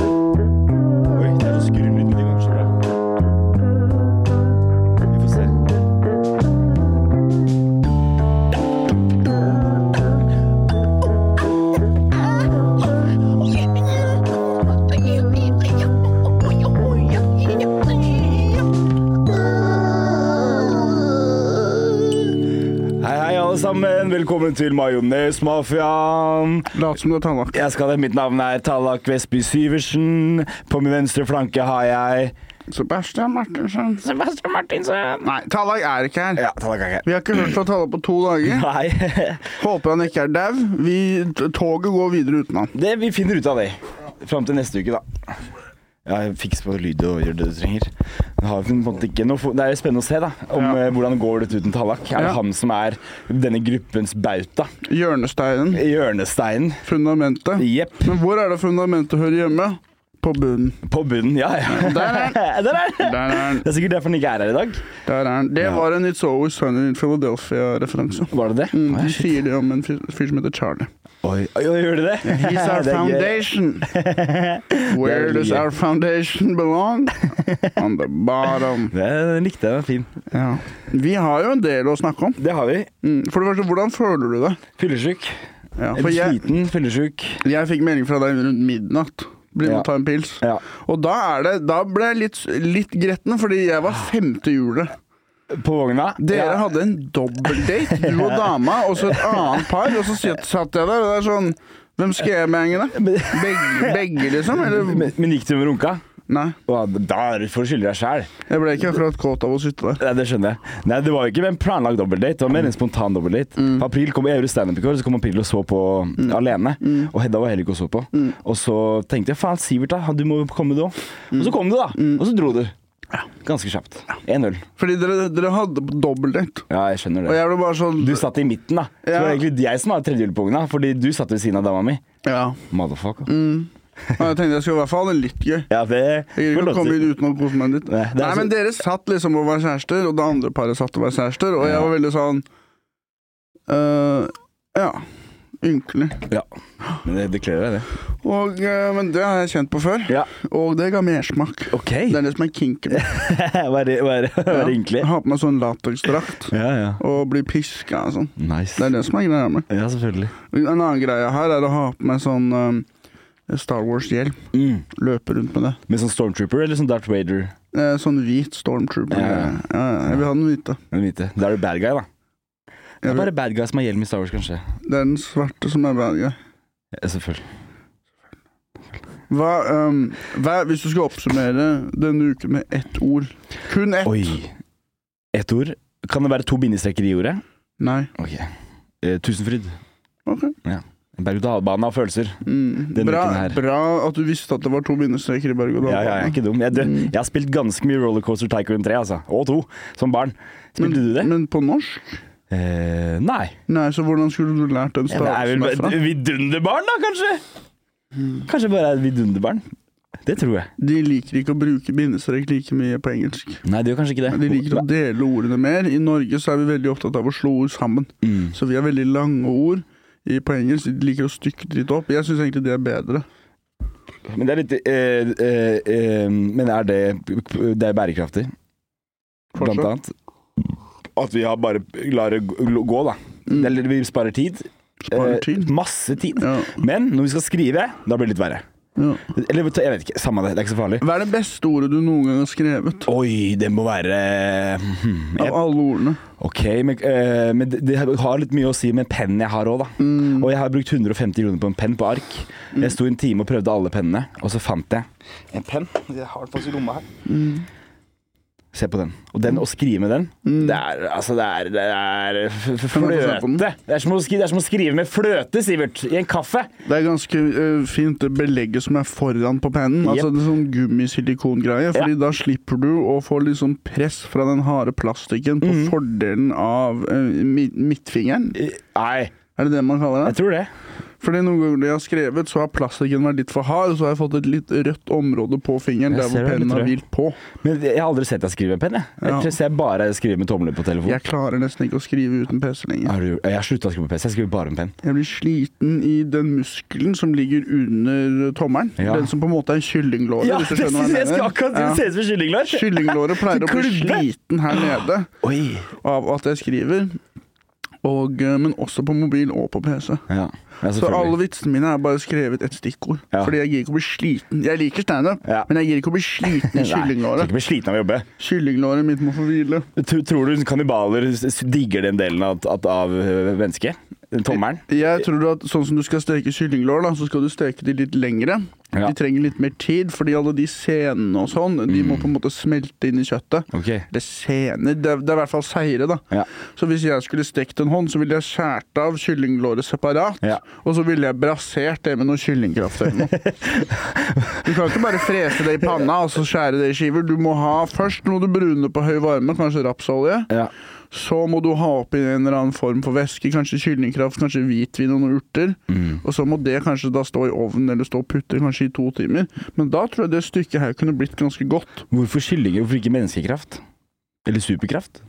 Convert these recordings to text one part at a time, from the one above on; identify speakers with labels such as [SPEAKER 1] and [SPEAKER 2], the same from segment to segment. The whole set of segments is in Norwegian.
[SPEAKER 1] Oi, det er å skru lyden i gang så bra. Vi får se. Hei, hei, alle sammen. Velkommen til Majonesmafiaen.
[SPEAKER 2] Lat som du har tannlagt.
[SPEAKER 1] Jeg skal det. Mitt navn er Tallak Vestby Syversen. På min venstre flanke har jeg
[SPEAKER 2] Sebastian Martinsen.
[SPEAKER 1] Sebastian Martinsen.
[SPEAKER 2] Nei, Tallag er ikke her.
[SPEAKER 1] Ja, Tallak er ikke
[SPEAKER 2] Vi har ikke hørt fra Tallag på to dager.
[SPEAKER 1] Nei.
[SPEAKER 2] Håper han ikke er dau. Vi- t- Toget går videre uten han.
[SPEAKER 1] Det, vi finner ut av det. Fram til neste uke, da. Ja, jeg fikser på lyd og gjør det du trenger. Men har vi på en måte ikke noe for... Det er jo spennende å se da, om
[SPEAKER 2] Ja.
[SPEAKER 1] eh, hvordan går dette uten Tallak. Er det
[SPEAKER 2] Ja.
[SPEAKER 1] han som er denne gruppens bauta?
[SPEAKER 2] Hjørnesteinen.
[SPEAKER 1] Hjørnesteinen.
[SPEAKER 2] Fundamentet.
[SPEAKER 1] Jepp.
[SPEAKER 2] Men hvor er det fundamentet hører hjemme? På bunnen.
[SPEAKER 1] På bunnen, ja. ja.
[SPEAKER 2] Der er
[SPEAKER 1] Der er
[SPEAKER 2] Der
[SPEAKER 1] han.
[SPEAKER 2] er den.
[SPEAKER 1] Det er sikkert derfor han ikke er her i dag.
[SPEAKER 2] Der er den. Det var en It's Always Sunny in Philadelphia-referanse.
[SPEAKER 1] Var det det?
[SPEAKER 2] Mm,
[SPEAKER 1] Oi,
[SPEAKER 2] de
[SPEAKER 1] shit.
[SPEAKER 2] sier det om en fyr fyr som heter Charlie.
[SPEAKER 1] Oi, oi, oi, gjør de det?
[SPEAKER 2] He's our
[SPEAKER 1] Det er gøy.
[SPEAKER 2] foundation. Where does our foundation belong? On the bottom.
[SPEAKER 1] Det den likte jeg, den var fin.
[SPEAKER 2] Ja. Vi har jo en del å snakke om.
[SPEAKER 1] Det har vi.
[SPEAKER 2] Mm, For det første, hvordan føler du det?
[SPEAKER 1] Fyllesjuk.
[SPEAKER 2] Ja,
[SPEAKER 1] En
[SPEAKER 2] for jeg,
[SPEAKER 1] Sliten, fyllesjuk.
[SPEAKER 2] jeg fikk melding fra deg rundt midnatt. Bli
[SPEAKER 1] Ja.
[SPEAKER 2] med og ta en pils.
[SPEAKER 1] Ja.
[SPEAKER 2] Og da, er det, da ble jeg litt, litt gretten, fordi jeg var femte hjulet.
[SPEAKER 1] På vogna.
[SPEAKER 2] Dere
[SPEAKER 1] Ja.
[SPEAKER 2] hadde en dobbeltdate, du og dama, og så et annet par. Og så satt satt jeg der, og det er sånn Hvem skal jeg med, da? Begge, begge, liksom? Eller
[SPEAKER 1] Men, men gikk du med runka?
[SPEAKER 2] Nei.
[SPEAKER 1] Å, Da er du- får du skylde deg sjæl.
[SPEAKER 2] Jeg ble ikke akkurat kåt av å sitte der.
[SPEAKER 1] Nei, det skjønner jeg. Nei, Det var jo ikke en planlagt dobbeltdate, det var mer en spontan dobbeltdate.
[SPEAKER 2] Mm.
[SPEAKER 1] For April kom jeg gjorde standup i går, så kom April og så på alene.
[SPEAKER 2] Mm.
[SPEAKER 1] Og Hedda var heller ikke og så på. Og så tenkte jeg faen, Sivert, da, han- du må jo komme du òg. Og
[SPEAKER 2] Mm.
[SPEAKER 1] så kom du, da. Og så dro du. Ganske kjapt. 1-0.
[SPEAKER 2] Fordi dere, dere hadde dobbeltdate.
[SPEAKER 1] Ja, jeg skjønner
[SPEAKER 2] Og
[SPEAKER 1] det.
[SPEAKER 2] jeg ble bare sånn
[SPEAKER 1] Du satt i midten, da. Så
[SPEAKER 2] Ja.
[SPEAKER 1] var det egentlig jeg som var tredje hjul på vogna, fordi du satt ved siden av dama mi.
[SPEAKER 2] Ja. Mm.
[SPEAKER 1] Motherfucker.
[SPEAKER 2] Og jeg tenkte jeg skulle i hvert fall ha det litt gøy.
[SPEAKER 1] Ja, det
[SPEAKER 2] Jeg gidder ikke å komme inn uten å kose meg litt.
[SPEAKER 1] Nei,
[SPEAKER 2] Nei,
[SPEAKER 1] det er altså- så-
[SPEAKER 2] men dere satt liksom og var kjærester, og det andre paret satt og var kjærester, og jeg var veldig sånn øh, Ja. Ynkelig.
[SPEAKER 1] Ja. Men det, det kler deg, det.
[SPEAKER 2] Og, øh, men det har jeg kjent på før,
[SPEAKER 1] Ja.
[SPEAKER 2] og det ga mersmak.
[SPEAKER 1] OK.
[SPEAKER 2] Det er det som er kinken.
[SPEAKER 1] Være ynkelig.
[SPEAKER 2] Jeg har på meg sånn lateksdrakt
[SPEAKER 1] Ja, ja.
[SPEAKER 2] og blir piska og sånn.
[SPEAKER 1] Nice.
[SPEAKER 2] Det er det som er greia med.
[SPEAKER 1] Ja, selvfølgelig.
[SPEAKER 2] En annen greie her er å ha på meg sånn øh, Star Wars-hjelm. Løpe rundt med det.
[SPEAKER 1] Mm. Med sånn Stormtrooper eller sånn Darth Vader?
[SPEAKER 2] Eh, Sånn hvit stormtrooper.
[SPEAKER 1] Ja,
[SPEAKER 2] Ja,
[SPEAKER 1] ja.
[SPEAKER 2] ja, jeg vil ha den hvite.
[SPEAKER 1] Den hvite. Da er du bad guy, da. Det
[SPEAKER 2] Jeg
[SPEAKER 1] er
[SPEAKER 2] vil,
[SPEAKER 1] bare bad guy som har hjelm i Star Wars, kanskje.
[SPEAKER 2] det er den svarte som er bad guy.
[SPEAKER 1] Ja, selvfølgelig.
[SPEAKER 2] Hva, ehm, hva, hvis du skal oppsummere denne uken med ett ord Kun ett.
[SPEAKER 1] Oi. Ett ord. Kan det være to bindestreker i ordet?
[SPEAKER 2] Nei.
[SPEAKER 1] Ok. Eh, Tusenfryd.
[SPEAKER 2] Ok.
[SPEAKER 1] Berg-og-dal-bane av følelser.
[SPEAKER 2] Mm.
[SPEAKER 1] Denne
[SPEAKER 2] Bra,
[SPEAKER 1] uken her.
[SPEAKER 2] bra at du visste at det var to bindestreker i berg og
[SPEAKER 1] Ja, ja, jeg er ikke dum. Jeg, er død.
[SPEAKER 2] Mm.
[SPEAKER 1] jeg har spilt ganske mye Rollercoaster Tycoon 3, altså. Og to, som barn. Spilte du det?
[SPEAKER 2] Men på norsk?
[SPEAKER 1] Eh, nei.
[SPEAKER 2] Nei, så hvordan skulle du lært den
[SPEAKER 1] Jeg er
[SPEAKER 2] stavelsen
[SPEAKER 1] vel
[SPEAKER 2] derfra?
[SPEAKER 1] bare et vidunderbarn, da, kanskje?
[SPEAKER 2] Mm.
[SPEAKER 1] Kanskje jeg bare er et vidunderbarn. Det tror jeg.
[SPEAKER 2] De liker ikke å bruke bindestrek like mye på engelsk.
[SPEAKER 1] Nei, det gjør kanskje ikke det.
[SPEAKER 2] Men de liker å dele ordene mer. I Norge så er vi veldig opptatt av å slå ord sammen.
[SPEAKER 1] Mm.
[SPEAKER 2] Så vi har veldig lange ord i, på engelsk. De liker å stykke det litt opp. Jeg syns egentlig det er bedre.
[SPEAKER 1] Men det er litt eh, eh, eh, Men er det Det er bærekraftig, blant
[SPEAKER 2] Fortsatt.
[SPEAKER 1] annet? At vi har bare lar det gå, gå, da.
[SPEAKER 2] Mm.
[SPEAKER 1] Eller vi sparer tid.
[SPEAKER 2] Sparer
[SPEAKER 1] Eh,
[SPEAKER 2] tid.
[SPEAKER 1] masse tid.
[SPEAKER 2] Ja,
[SPEAKER 1] Men når vi skal skrive, da blir det litt verre.
[SPEAKER 2] ja.
[SPEAKER 1] Eller jeg vet ikke. Samme det, det er ikke så farlig.
[SPEAKER 2] Hva er det beste ordet du noen gang har skrevet?
[SPEAKER 1] Oi, det må være
[SPEAKER 2] hm,
[SPEAKER 1] hmm, jeg,
[SPEAKER 2] Av alle ordene.
[SPEAKER 1] Ok, men, eh, men det, det har litt mye å si med pennen jeg har òg, da.
[SPEAKER 2] Mm.
[SPEAKER 1] Og jeg har brukt 150 kroner på en penn på ark. Jeg sto en time og prøvde alle pennene, og så fant jeg En penn. Jeg har den faktisk i lomma her. Mm. Se på den. Og den å skrive med den,
[SPEAKER 2] Mm.
[SPEAKER 1] det er altså det er, det er f- f-
[SPEAKER 2] Kan jeg få se på den?
[SPEAKER 1] fløte. Det er, som å skrive, det er som å skrive med fløte, Sivert, i en kaffe.
[SPEAKER 2] Det er ganske eh, fint det belegget som er foran på pennen. Altså det er sånn gummisilikkongreie. Fordi da slipper du å få litt sånn press fra den harde plastikken på fordelen av eh, mi- midtfingeren.
[SPEAKER 1] Nei,
[SPEAKER 2] Er det det man kaller
[SPEAKER 1] jeg
[SPEAKER 2] det?
[SPEAKER 1] tror det.
[SPEAKER 2] Fordi noen ganger når jeg har skrevet, så har plastikken vært litt for hard, og så har jeg fått et litt rødt område på fingeren
[SPEAKER 1] Jeg
[SPEAKER 2] der
[SPEAKER 1] ser
[SPEAKER 2] hvor
[SPEAKER 1] det,
[SPEAKER 2] pennen
[SPEAKER 1] tror
[SPEAKER 2] har
[SPEAKER 1] jeg.
[SPEAKER 2] hvilt på.
[SPEAKER 1] Men jeg har aldri sett deg skrive med penn. Jeg, jeg
[SPEAKER 2] Ja.
[SPEAKER 1] tror jeg ser bare skriver med tommelen på telefonen.
[SPEAKER 2] Jeg klarer nesten ikke å skrive uten PC lenger.
[SPEAKER 1] Har du- Jeg har slutta å skrive med PC, jeg skriver bare med penn.
[SPEAKER 2] Jeg blir sliten i den muskelen som ligger under tommelen.
[SPEAKER 1] Ja.
[SPEAKER 2] Den som på en måte er kyllinglåret,
[SPEAKER 1] Ja,
[SPEAKER 2] hvis du
[SPEAKER 1] det
[SPEAKER 2] skjønner hva
[SPEAKER 1] synes jeg
[SPEAKER 2] jeg
[SPEAKER 1] skal
[SPEAKER 2] mener.
[SPEAKER 1] akkurat det
[SPEAKER 2] Ja.
[SPEAKER 1] ser ut som kyllinglår.
[SPEAKER 2] Kyllinglåret pleier å bli
[SPEAKER 1] Klubbe.
[SPEAKER 2] sliten her nede
[SPEAKER 1] Oi.
[SPEAKER 2] av at jeg skriver, og, eh, men også på mobil og på PC.
[SPEAKER 1] Ja, ja
[SPEAKER 2] Så alle
[SPEAKER 1] selvfølgelig.
[SPEAKER 2] vitsene mine er bare skrevet et stikkord.
[SPEAKER 1] Ja.
[SPEAKER 2] Fordi jeg gir ikke å bli sliten. Jeg liker standup,
[SPEAKER 1] Ja.
[SPEAKER 2] men jeg gir ikke å bli sliten i
[SPEAKER 1] Nei, skal
[SPEAKER 2] kyllinglåret.
[SPEAKER 1] ikke bli sliten av å jobbe.
[SPEAKER 2] Kyllinglåret mitt må få hvile.
[SPEAKER 1] Tror, tror du kannibaler s- s- digger den delen av, at- av øh, mennesket? Tommelen?
[SPEAKER 2] Jeg tror at sånn som du skal steke kyllinglår, da, så skal du steke de litt lengre.
[SPEAKER 1] Ja.
[SPEAKER 2] De trenger litt mer tid, fordi alle de senene og sånn, de må på en måte smelte inn i kjøttet.
[SPEAKER 1] Mm. Ok.
[SPEAKER 2] Eller sener Det er, det er i hvert fall seire, da.
[SPEAKER 1] Ja.
[SPEAKER 2] Så hvis jeg skulle stekt en hånd, så ville jeg skåret av kyllinglåret separat.
[SPEAKER 1] Ja.
[SPEAKER 2] Og så ville jeg brasert det med noe kyllingkraft eller noe. Du kan ikke bare frese det i panna og så skjære det i skiver. Du må ha Først må du brune på høy varme, kanskje rapsolje.
[SPEAKER 1] Ja.
[SPEAKER 2] Så må du ha oppi en eller annen form for væske, kanskje kyllingkraft, kanskje hvitvin og noen urter.
[SPEAKER 1] Mm.
[SPEAKER 2] Og så må det kanskje da stå i ovnen eller stå og putte kanskje i to timer. Men da tror jeg det stykket her kunne blitt ganske godt.
[SPEAKER 1] Hvorfor kyllinger? Hvorfor ikke menneskekraft? Eller superkraft?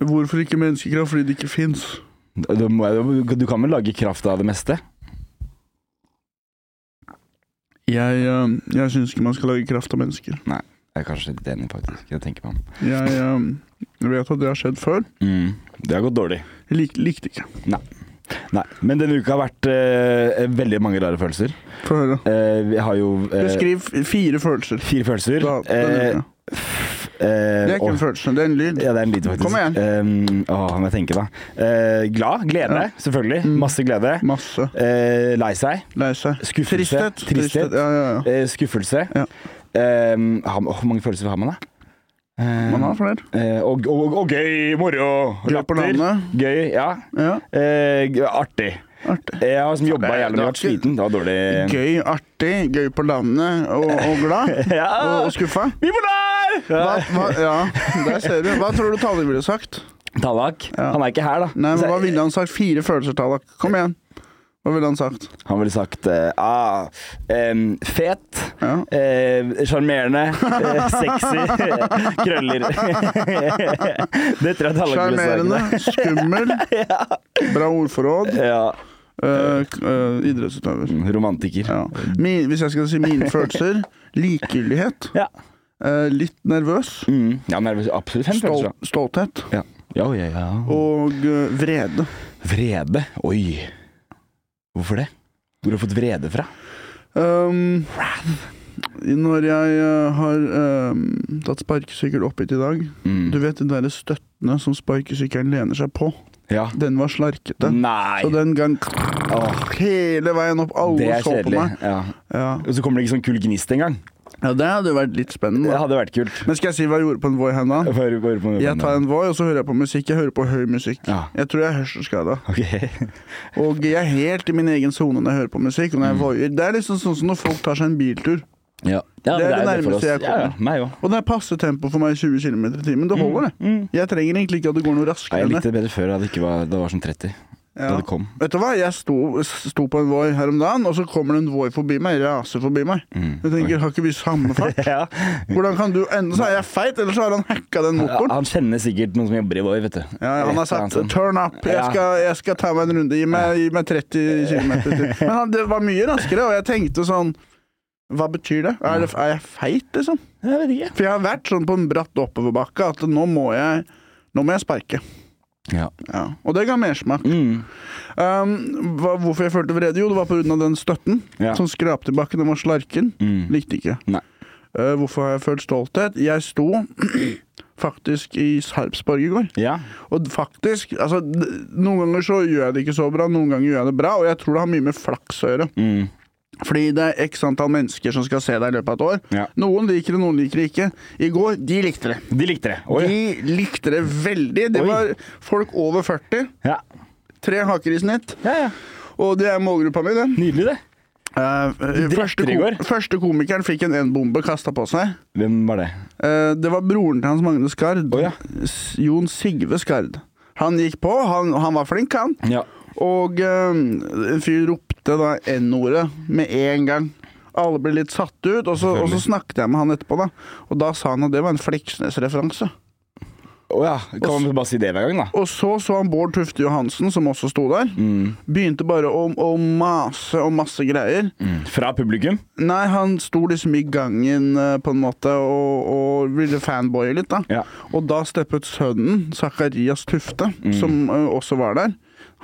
[SPEAKER 2] Hvorfor ikke menneskekraft? Fordi det ikke fins.
[SPEAKER 1] Da- da må jeg- Du kan vel lage kraft av det meste?
[SPEAKER 2] Jeg, uh, jeg syns ikke man skal lage kraft av mennesker.
[SPEAKER 1] Jeg er kanskje litt enig, faktisk. Jeg tenker meg om.
[SPEAKER 2] Jeg eh, vet at det har skjedd før.
[SPEAKER 1] Mm. Det har gått dårlig.
[SPEAKER 2] Jeg lik, likte ikke.
[SPEAKER 1] Nei. Men denne uka har vært eh, veldig mange rare følelser.
[SPEAKER 2] Få høre.
[SPEAKER 1] Eh, vi har jo eh,
[SPEAKER 2] Beskriv f- fire følelser.
[SPEAKER 1] fire følelser. Eh,
[SPEAKER 2] Da, denne uka. det er ikke en
[SPEAKER 1] følelse.
[SPEAKER 2] følelse, det er en lyd.
[SPEAKER 1] Ja, det er en lyd, faktisk.
[SPEAKER 2] Kom igjen.
[SPEAKER 1] Eh, åh, hva må jeg tenke, da? Eh, glad. Glede,
[SPEAKER 2] Ja. Mm.
[SPEAKER 1] selvfølgelig. Masse glede.
[SPEAKER 2] Masse.
[SPEAKER 1] Eh, lei seg.
[SPEAKER 2] Lei seg.
[SPEAKER 1] Skuffelse.
[SPEAKER 2] Tristhet.
[SPEAKER 1] Tristhet.
[SPEAKER 2] Ja, ja, ja.
[SPEAKER 1] Eh, skuffelse.
[SPEAKER 2] Ja.
[SPEAKER 1] Eh, har, åh, hvor mange følelser har man, da? Eh,
[SPEAKER 2] Man har flere.
[SPEAKER 1] eh, og, og, og gøy, moro,
[SPEAKER 2] Glad på landet.
[SPEAKER 1] Gøy, ja.
[SPEAKER 2] Ja,
[SPEAKER 1] Eh, g- artig.
[SPEAKER 2] artig.
[SPEAKER 1] Jeg har liksom jobba
[SPEAKER 2] det-
[SPEAKER 1] jævlig mye,
[SPEAKER 2] det
[SPEAKER 1] vært
[SPEAKER 2] var ikke-
[SPEAKER 1] sliten. Det var dårlig.
[SPEAKER 2] Gøy, artig, gøy på landet og, og glad.
[SPEAKER 1] Ja.
[SPEAKER 2] Og, og skuffa.
[SPEAKER 1] Vi bor der!
[SPEAKER 2] Hva,
[SPEAKER 1] Ja.
[SPEAKER 2] hva, ja, der ser du. Hva tror du Tallak ville sagt?
[SPEAKER 1] Tallak.
[SPEAKER 2] Ja.
[SPEAKER 1] Han er ikke her, da.
[SPEAKER 2] Nei, men
[SPEAKER 1] Så-
[SPEAKER 2] Hva ville han sagt? Fire følelser, Tallak. Kom igjen. Hva ville han sagt?
[SPEAKER 1] Han ville sagt eh, ah, em, fet,
[SPEAKER 2] Ja.
[SPEAKER 1] eh, sjarmerende, eh, sexy, krøller. det tror jeg Tallak ville sagt.
[SPEAKER 2] Sjarmerende, skummel, bra ordforråd,
[SPEAKER 1] Ja.
[SPEAKER 2] eh, k- eh, idrettsutøver.
[SPEAKER 1] Romantiker.
[SPEAKER 2] Ja. Min, hvis jeg skal si mine følelser likegyldighet,
[SPEAKER 1] Ja.
[SPEAKER 2] eh, litt nervøs,
[SPEAKER 1] Mm. ja men det er absolutt fem følelser.
[SPEAKER 2] stol,
[SPEAKER 1] da.
[SPEAKER 2] stolthet
[SPEAKER 1] Ja. Ja, ja, ja.
[SPEAKER 2] og eh, vrede.
[SPEAKER 1] Vrede. Oi. Hvorfor det? Hvor har du fått vrede fra?
[SPEAKER 2] Um, når jeg eh, har eh, tatt sparkesykkel opp hit i dag
[SPEAKER 1] Mm.
[SPEAKER 2] Du vet de der støttene som sparkesykkelen lener seg på?
[SPEAKER 1] Ja.
[SPEAKER 2] Den var slarkete.
[SPEAKER 1] Nei!
[SPEAKER 2] Så den gang
[SPEAKER 1] Åh,
[SPEAKER 2] hele veien opp.
[SPEAKER 1] det
[SPEAKER 2] Alle
[SPEAKER 1] er
[SPEAKER 2] så på
[SPEAKER 1] kjedelig.
[SPEAKER 2] meg.
[SPEAKER 1] Ja.
[SPEAKER 2] Ja.
[SPEAKER 1] Og så kommer det ikke sånn kul gnist engang.
[SPEAKER 2] ja, det hadde jo vært litt spennende.
[SPEAKER 1] Det
[SPEAKER 2] da.
[SPEAKER 1] hadde vært kult.
[SPEAKER 2] Men skal jeg si hva jeg gjorde på en Voi her nå?
[SPEAKER 1] Få høre- få høre på-
[SPEAKER 2] Jeg tar en Voi, og så hører jeg på musikk. Jeg hører på høy musikk.
[SPEAKER 1] Ja.
[SPEAKER 2] Jeg tror jeg er hørselsskada.
[SPEAKER 1] Ok.
[SPEAKER 2] Og jeg er helt i min egen sone når jeg hører på musikk. Og når
[SPEAKER 1] Mm.
[SPEAKER 2] jeg voier. Det er liksom sånn som når folk tar seg en biltur.
[SPEAKER 1] Ja. Ja,
[SPEAKER 2] Det er det
[SPEAKER 1] jo for
[SPEAKER 2] nærmeste
[SPEAKER 1] oss.
[SPEAKER 2] jeg
[SPEAKER 1] Ja,
[SPEAKER 2] kommer.
[SPEAKER 1] ja, meg òg.
[SPEAKER 2] Og det er passe tempo for meg i 20 km i timen. Det holder, det. Jeg trenger egentlig ikke at det går
[SPEAKER 1] Mm.
[SPEAKER 2] noe
[SPEAKER 1] Nei,
[SPEAKER 2] raskere.
[SPEAKER 1] jeg
[SPEAKER 2] enn
[SPEAKER 1] likte det bedre før, da det ikke var, det var som 30. Da
[SPEAKER 2] Ja.
[SPEAKER 1] det kom.
[SPEAKER 2] Vet du hva, jeg sto, sto på en Voi her om dagen, og så kommer det en Voi forbi meg. Raser forbi meg.
[SPEAKER 1] Mm.
[SPEAKER 2] Jeg tenker, har ikke vi samme fart?
[SPEAKER 1] Ja.
[SPEAKER 2] Hvordan kan du Enten så er jeg feit, eller så har han hacka den motoren.
[SPEAKER 1] Han kjenner sikkert noen som jobber i Voi, vet du.
[SPEAKER 2] Ja, ja, han har
[SPEAKER 1] Et eller annet
[SPEAKER 2] sagt
[SPEAKER 1] sånt.
[SPEAKER 2] 'turn up', jeg
[SPEAKER 1] Ja.
[SPEAKER 2] skal, jeg skal ta meg en runde. Gi meg, gi meg 30 km til. Men han, det var mye raskere, og jeg tenkte sånn Hva betyr det? Er, det, er jeg feit, liksom?
[SPEAKER 1] Jeg vet ikke.
[SPEAKER 2] For jeg har vært sånn på en bratt oppoverbakke at nå må jeg, nå må jeg sparke.
[SPEAKER 1] Ja.
[SPEAKER 2] Ja. Og det ga mersmak.
[SPEAKER 1] Mm.
[SPEAKER 2] Um, hva, hvorfor jeg følte vrede? Jo, det var pga. den støtten
[SPEAKER 1] Ja.
[SPEAKER 2] som skrapte i bakken. Den var slarken.
[SPEAKER 1] Mm.
[SPEAKER 2] Likte ikke.
[SPEAKER 1] Nei.
[SPEAKER 2] Uh, hvorfor har jeg følt stolthet? Jeg sto faktisk i Sarpsborg i går.
[SPEAKER 1] ja.
[SPEAKER 2] Og faktisk altså, d- Noen ganger så gjør jeg det ikke så bra, noen ganger gjør jeg det bra. Og jeg tror det har mye med flaks å gjøre.
[SPEAKER 1] Mm.
[SPEAKER 2] Fordi det er x antall mennesker som skal se deg i løpet av et år.
[SPEAKER 1] Ja.
[SPEAKER 2] Noen liker det, noen liker det ikke. I går, de likte det.
[SPEAKER 1] De likte det. Oi.
[SPEAKER 2] De likte det veldig. Det
[SPEAKER 1] Oi.
[SPEAKER 2] var folk over 40.
[SPEAKER 1] Ja.
[SPEAKER 2] Tre haker i snitt.
[SPEAKER 1] ja, ja.
[SPEAKER 2] Og det er målgruppa mi, det.
[SPEAKER 1] Nydelig, det.
[SPEAKER 2] Eh, første,
[SPEAKER 1] i går.
[SPEAKER 2] ko første komikeren fikk en N-bombe kasta på seg.
[SPEAKER 1] Hvem var det?
[SPEAKER 2] Eh, det var broren til Hans Magne Skard.
[SPEAKER 1] Å, ja.
[SPEAKER 2] S- Jon Sigve Skard. Han gikk på, han, han var flink, han.
[SPEAKER 1] Ja.
[SPEAKER 2] Og eh, en fyr ropte da N-ordet med en gang. Alle ble litt satt ut, og så, og så snakket jeg med han etterpå. da Og da sa han at det var en Fleksnes-referanse.
[SPEAKER 1] Å ja. Kan man bare si det hver gang, da?
[SPEAKER 2] Og så så han Bård Tufte Johansen, som også sto der. Begynte bare å, å mase om masse greier.
[SPEAKER 1] Fra publikum?
[SPEAKER 2] Nei, han sto liksom i gangen eh, på en måte og, og ville fanboye litt, da.
[SPEAKER 1] Ja.
[SPEAKER 2] Og da steppet sønnen, Zakarias Tufte, som eh, også var der.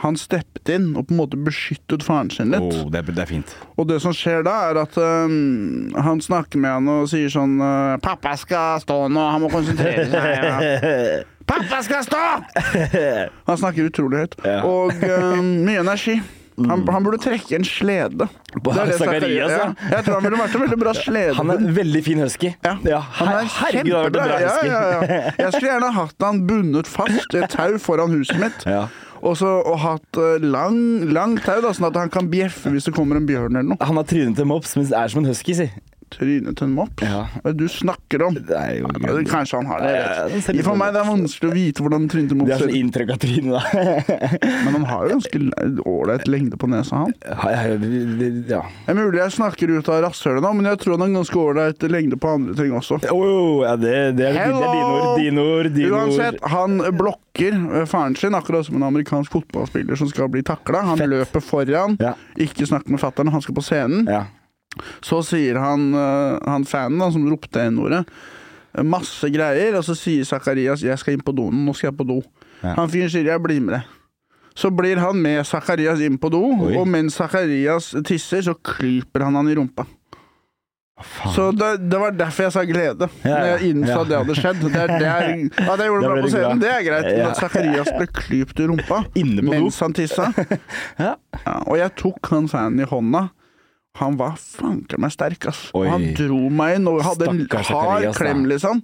[SPEAKER 2] Han steppet inn og på en måte beskyttet faren sin litt.
[SPEAKER 1] Å, det, er, det er fint.
[SPEAKER 2] Og det som skjer da, er at øhm, han snakker med han og sier sånn øh, 'Pappa skal stå nå, han må konsentrere seg.' Ja. 'Pappa skal stå!' Han snakker utrolig høyt.
[SPEAKER 1] Ja. Mm.
[SPEAKER 2] Og øhm, mye energi. Han, han burde trekke en slede.
[SPEAKER 1] På
[SPEAKER 2] Det er det
[SPEAKER 1] Zacharias,
[SPEAKER 2] Zacharias-
[SPEAKER 1] ja.
[SPEAKER 2] ja. Jeg tror han ville vært en veldig bra slede.
[SPEAKER 1] Han er en veldig fin husky.
[SPEAKER 2] Ja.
[SPEAKER 1] her,
[SPEAKER 2] Han er
[SPEAKER 1] herregud, det har vært en bra
[SPEAKER 2] kjempebra.
[SPEAKER 1] husky.
[SPEAKER 2] Ja, ja, ja. Jeg skulle gjerne hatt han bundet fast i et tau foran huset mitt.
[SPEAKER 1] Ja.
[SPEAKER 2] Og, så, og hatt eh, lang, lang tau, da, sånn at han kan bjeffe hvis det kommer en bjørn eller noe.
[SPEAKER 1] Han har trynet til mops, men er som en husky, si.
[SPEAKER 2] Trynet til en mops.
[SPEAKER 1] Ja.
[SPEAKER 2] Hva er det du snakker om?
[SPEAKER 1] Det er jo
[SPEAKER 2] Ja, det- Kanskje han har det.
[SPEAKER 1] Ja, ja,
[SPEAKER 2] jeg
[SPEAKER 1] den
[SPEAKER 2] vet
[SPEAKER 1] ser
[SPEAKER 2] ikke.
[SPEAKER 1] litt sånn
[SPEAKER 2] For meg det er vanskelig å vite hvordan trynet til
[SPEAKER 1] Det er
[SPEAKER 2] mops ser
[SPEAKER 1] sånn
[SPEAKER 2] ut.
[SPEAKER 1] inntrykk av trynet, da.
[SPEAKER 2] Men han har jo ganske le- ålreit lengde på nesa, han.
[SPEAKER 1] Ja, ja, det- ja.
[SPEAKER 2] Det er mulig jeg snakker ut av rasshølet nå, men jeg tror han har ganske ålreit lengde på andre ting også.
[SPEAKER 1] Å, jo, ja, det, det, er, det er dine ord, dine ord, dine
[SPEAKER 2] Uansett,
[SPEAKER 1] ord.
[SPEAKER 2] han blokker eh, faren sin, akkurat som en amerikansk fotballspiller som skal bli takla. Han
[SPEAKER 1] Fett.
[SPEAKER 2] løper foran,
[SPEAKER 1] Ja.
[SPEAKER 2] ikke snakker med fattern, han skal på scenen.
[SPEAKER 1] Ja.
[SPEAKER 2] Så sier han, eh, han fanen da, som ropte N-ordet, eh, masse greier, og så sier Zakarias 'jeg skal inn på doen, nå skal jeg på do'.
[SPEAKER 1] Ja.
[SPEAKER 2] Han fyren sier 'jeg blir med deg'. Så blir han med Zakarias inn på do,
[SPEAKER 1] Oi.
[SPEAKER 2] og mens Zakarias tisser, så klyper han han i rumpa.
[SPEAKER 1] Faen.
[SPEAKER 2] Så det, det var derfor jeg sa glede.
[SPEAKER 1] Ah. Ja,
[SPEAKER 2] Når
[SPEAKER 1] ja.
[SPEAKER 2] jeg innså at det hadde skjedd. Det er, det er, at jeg gjorde
[SPEAKER 1] Da
[SPEAKER 2] det
[SPEAKER 1] ble
[SPEAKER 2] bra
[SPEAKER 1] du
[SPEAKER 2] på scenen,
[SPEAKER 1] glad.
[SPEAKER 2] det er greit.
[SPEAKER 1] Ja.
[SPEAKER 2] Men at Zakarias ble klypt i rumpa
[SPEAKER 1] Inne på do.
[SPEAKER 2] mens han tissa.
[SPEAKER 1] Ja.
[SPEAKER 2] Ja, og jeg tok han fanen i hånda. Han var fanken meg sterk, ass.
[SPEAKER 1] Oi.
[SPEAKER 2] Han dro meg inn og hadde en
[SPEAKER 1] Stakkars
[SPEAKER 2] hard
[SPEAKER 1] Zakarias, da. Mm.
[SPEAKER 2] klem, liksom.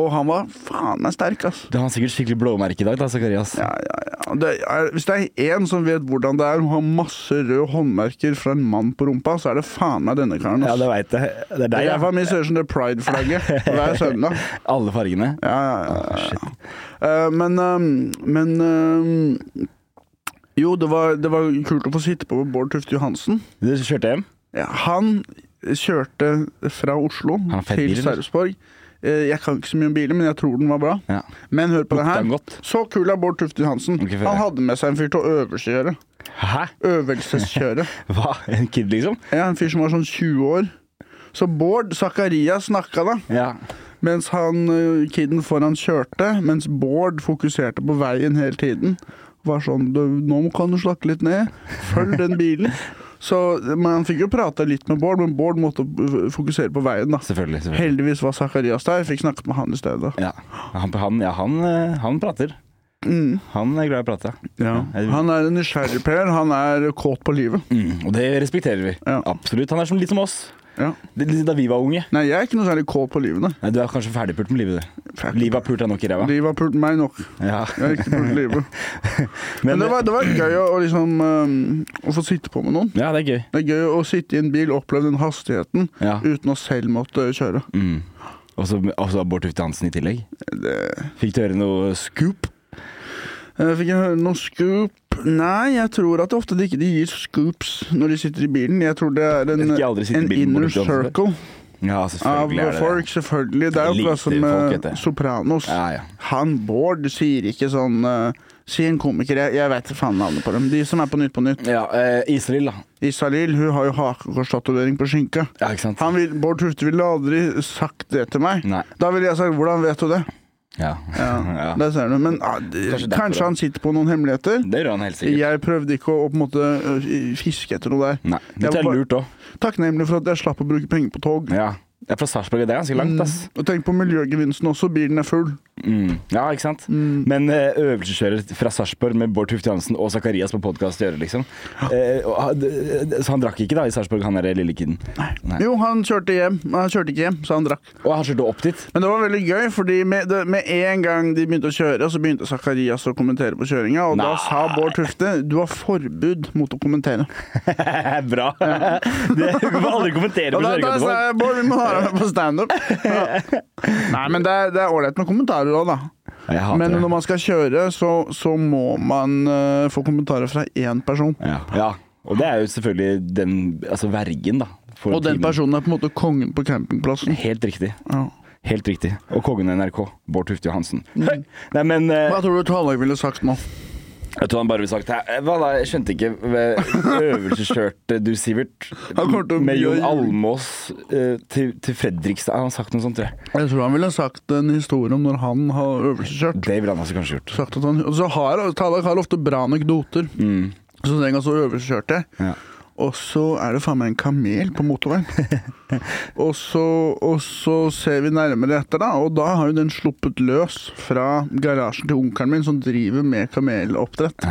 [SPEAKER 2] Og han var faen meg sterk, ass.
[SPEAKER 1] Du har sikkert skikkelig blåmerke i dag, da, Zakarias.
[SPEAKER 2] Ja, ja, ja. Det er, hvis det er én som vet hvordan det er å ha masse røde håndmerker fra en mann på rumpa, så er det faen meg denne karen.
[SPEAKER 1] Ja,
[SPEAKER 2] Ass.
[SPEAKER 1] det veit jeg. Det er
[SPEAKER 2] det
[SPEAKER 1] deg,
[SPEAKER 2] er
[SPEAKER 1] ja.
[SPEAKER 2] derfor vi ser som det pride-flagget hver søndag.
[SPEAKER 1] Alle fargene.
[SPEAKER 2] Ja, ja, ja, ja. Eh, men ehm, men ehm, Jo, det var, det var kult å få sitte på med Bård Tufte Johansen.
[SPEAKER 1] Du kjørte hjem?
[SPEAKER 2] Ja, han kjørte fra Oslo
[SPEAKER 1] har fett
[SPEAKER 2] til
[SPEAKER 1] bil, eller?
[SPEAKER 2] Sarpsborg. Eh, Jeg kan ikke så mye om biler, men jeg tror den var bra.
[SPEAKER 1] Ja.
[SPEAKER 2] Men hør på det
[SPEAKER 1] Lukta
[SPEAKER 2] her.
[SPEAKER 1] den godt?
[SPEAKER 2] Så kul er Bård Tufte Johansen.
[SPEAKER 1] Ok, få
[SPEAKER 2] han
[SPEAKER 1] høre.
[SPEAKER 2] hadde med seg en fyr til å øvelseskjøre.
[SPEAKER 1] Hæ?
[SPEAKER 2] Øvelseskjøre.
[SPEAKER 1] Hva? En kid, liksom?
[SPEAKER 2] ja, en fyr som var sånn 20 år. Så Bård Zakaria snakka, da.
[SPEAKER 1] Ja.
[SPEAKER 2] Mens han, eh, kiden foran kjørte, mens Bård fokuserte på veien hele tiden. Var sånn «Du, 'Nå kan du slakke litt ned. Følg den bilen.' Så, men Han fikk jo prata litt med Bård, men Bård måtte eh, fokusere på veien. da.
[SPEAKER 1] Selvfølgelig. selvfølgelig.
[SPEAKER 2] Heldigvis var Zakarias der, fikk snakket med han i stedet.
[SPEAKER 1] Ja, han, han, ja, han, eh, han prater. Han er glad i å prate. jeg-
[SPEAKER 2] Han er en nysgjerrig Per, han er kåt på livet.
[SPEAKER 1] Mm, og det respekterer vi.
[SPEAKER 2] Ja.
[SPEAKER 1] Absolutt. Han er som, litt som oss.
[SPEAKER 2] Ja.
[SPEAKER 1] Det, litt da vi var unge.
[SPEAKER 2] Nei, jeg er ikke noe særlig kåt på livet, nei.
[SPEAKER 1] Nei, du er kanskje ferdigpult med livet, du. Livet har pult deg nok i ræva.
[SPEAKER 2] Livet har pult meg nok.
[SPEAKER 1] Ja.
[SPEAKER 2] Jeg har ikke pult livet. Men det var, det var gøy å, å liksom eh, å få sitte på med noen.
[SPEAKER 1] Ja, det er gøy.
[SPEAKER 2] Det er gøy å sitte i en bil og oppleve den hastigheten
[SPEAKER 1] Ja.
[SPEAKER 2] uten å selv måtte kjøre.
[SPEAKER 1] Mm. Og så og så Bård Tufte Hansen i tillegg. Fikk du høre noe scoop?
[SPEAKER 2] Eh, Fikk jeg høre noe scoop? Nei, jeg tror at det ofte de ikke de gir scoops når de sitter i bilen. Jeg tror det er en,
[SPEAKER 1] Jeg fikk aldri sitte i
[SPEAKER 2] en
[SPEAKER 1] bilen på
[SPEAKER 2] inner
[SPEAKER 1] Bordeaux.
[SPEAKER 2] circle
[SPEAKER 1] Ja, altså,
[SPEAKER 2] av
[SPEAKER 1] selvfølgelig er det
[SPEAKER 2] folk, selvfølgelig. Det er jo
[SPEAKER 1] Lite
[SPEAKER 2] akkurat som
[SPEAKER 1] folk,
[SPEAKER 2] eh,
[SPEAKER 1] vet jeg.
[SPEAKER 2] Sopranos.
[SPEAKER 1] Ja, ja.
[SPEAKER 2] Han Bård sier ikke sånn eh, Sier en komiker, jeg, jeg veit faen navnet på dem. De som er på Nytt på Nytt.
[SPEAKER 1] Ja, eh, Israel, da.
[SPEAKER 2] Isalill, hun har jo hakekorstatovering på skinka.
[SPEAKER 1] Ja, ikke sant?
[SPEAKER 2] Han vil, Bård Tufte ville aldri sagt det til meg.
[SPEAKER 1] Nei.
[SPEAKER 2] Da ville jeg sagt 'hvordan vet du det'?
[SPEAKER 1] Ja.
[SPEAKER 2] Ja,
[SPEAKER 1] Ja.
[SPEAKER 2] Der ser du. Men ah, det,
[SPEAKER 1] Kanskje
[SPEAKER 2] kanskje,
[SPEAKER 1] derfor, da.
[SPEAKER 2] han sitter på noen hemmeligheter.
[SPEAKER 1] Det gjør han helt sikkert.
[SPEAKER 2] Jeg prøvde ikke å, å på en måte ø, fiske etter noe der.
[SPEAKER 1] Nei, Dette
[SPEAKER 2] Jeg
[SPEAKER 1] er
[SPEAKER 2] var bare-
[SPEAKER 1] lurt òg.
[SPEAKER 2] Takknemlig for at jeg slapp å bruke penger på tog.
[SPEAKER 1] Ja. Jeg er fra Sarpsborg, det er ganske langt, ass.
[SPEAKER 2] Og tenk på miljøgevinsten også. Bilen er full.
[SPEAKER 1] Mm. Ja, ikke sant?
[SPEAKER 2] Mm.
[SPEAKER 1] Men eh, øvelseskjører fra Sarpsborg med Bård Tufte Hansen og Zakarias på podkast å gjøre, liksom. Eh, og han- d- d- så han drakk ikke da i Sarpsborg, han der lille kiden. Nei.
[SPEAKER 2] Jo, han kjørte hjem. Han kjørte ikke hjem, så han drakk.
[SPEAKER 1] Og han kjørte opp dit.
[SPEAKER 2] Men det var veldig gøy, fordi med, det, med en gang de begynte å kjøre, så begynte Zakarias å kommentere på kjøringa, og da
[SPEAKER 1] Nei.
[SPEAKER 2] sa Bård Tufte du har forbud mot å kommentere.
[SPEAKER 1] Bra! det du kan aldri kommentere på
[SPEAKER 2] Og da, da
[SPEAKER 1] kjøregaten
[SPEAKER 2] sa
[SPEAKER 1] vår.
[SPEAKER 2] jeg Bård, vi må ha deg med på standup. Ja. Nei, men det er det er ålreit med kommentarer òg, da.
[SPEAKER 1] Ja, Jeg hater
[SPEAKER 2] Men
[SPEAKER 1] det.
[SPEAKER 2] når man skal kjøre, så, så må man eh, få kommentarer fra én person.
[SPEAKER 1] Ja. ja. Og det er jo selvfølgelig den altså vergen, da. for
[SPEAKER 2] Og den
[SPEAKER 1] timen.
[SPEAKER 2] personen er på en måte kongen på campingplassen.
[SPEAKER 1] Helt riktig.
[SPEAKER 2] Ja.
[SPEAKER 1] Helt riktig. Og kongen av NRK, Bård Tufte Johansen. Høy! Nei, men eh,
[SPEAKER 2] Mm. Hva tror du Tallag ville sagt nå?
[SPEAKER 1] Jeg tror han bare ville sagt «Hæ, eh, Hva da, jeg skjønte ikke hva- Øvelseskjørte du, Sivert
[SPEAKER 2] Han kommer til å
[SPEAKER 1] Med Jon
[SPEAKER 2] gjøre-
[SPEAKER 1] Almås eh, til, til Fredrikstad Han har sagt noe sånt, tror jeg
[SPEAKER 2] Jeg tror han ville sagt en historie om når han har øvelseskjørt.
[SPEAKER 1] Det ville han også kanskje gjort
[SPEAKER 2] sagt at han, og så har Tallak har ofte bra anekdoter. Så den gangen så overkjørte jeg.
[SPEAKER 1] Mm. Ja.
[SPEAKER 2] Og så er det faen meg en kamel på motorveien. og, så, og så ser vi nærmere etter, da, og da har jo den sluppet løs fra garasjen til onkelen min, som driver med kameloppdrett.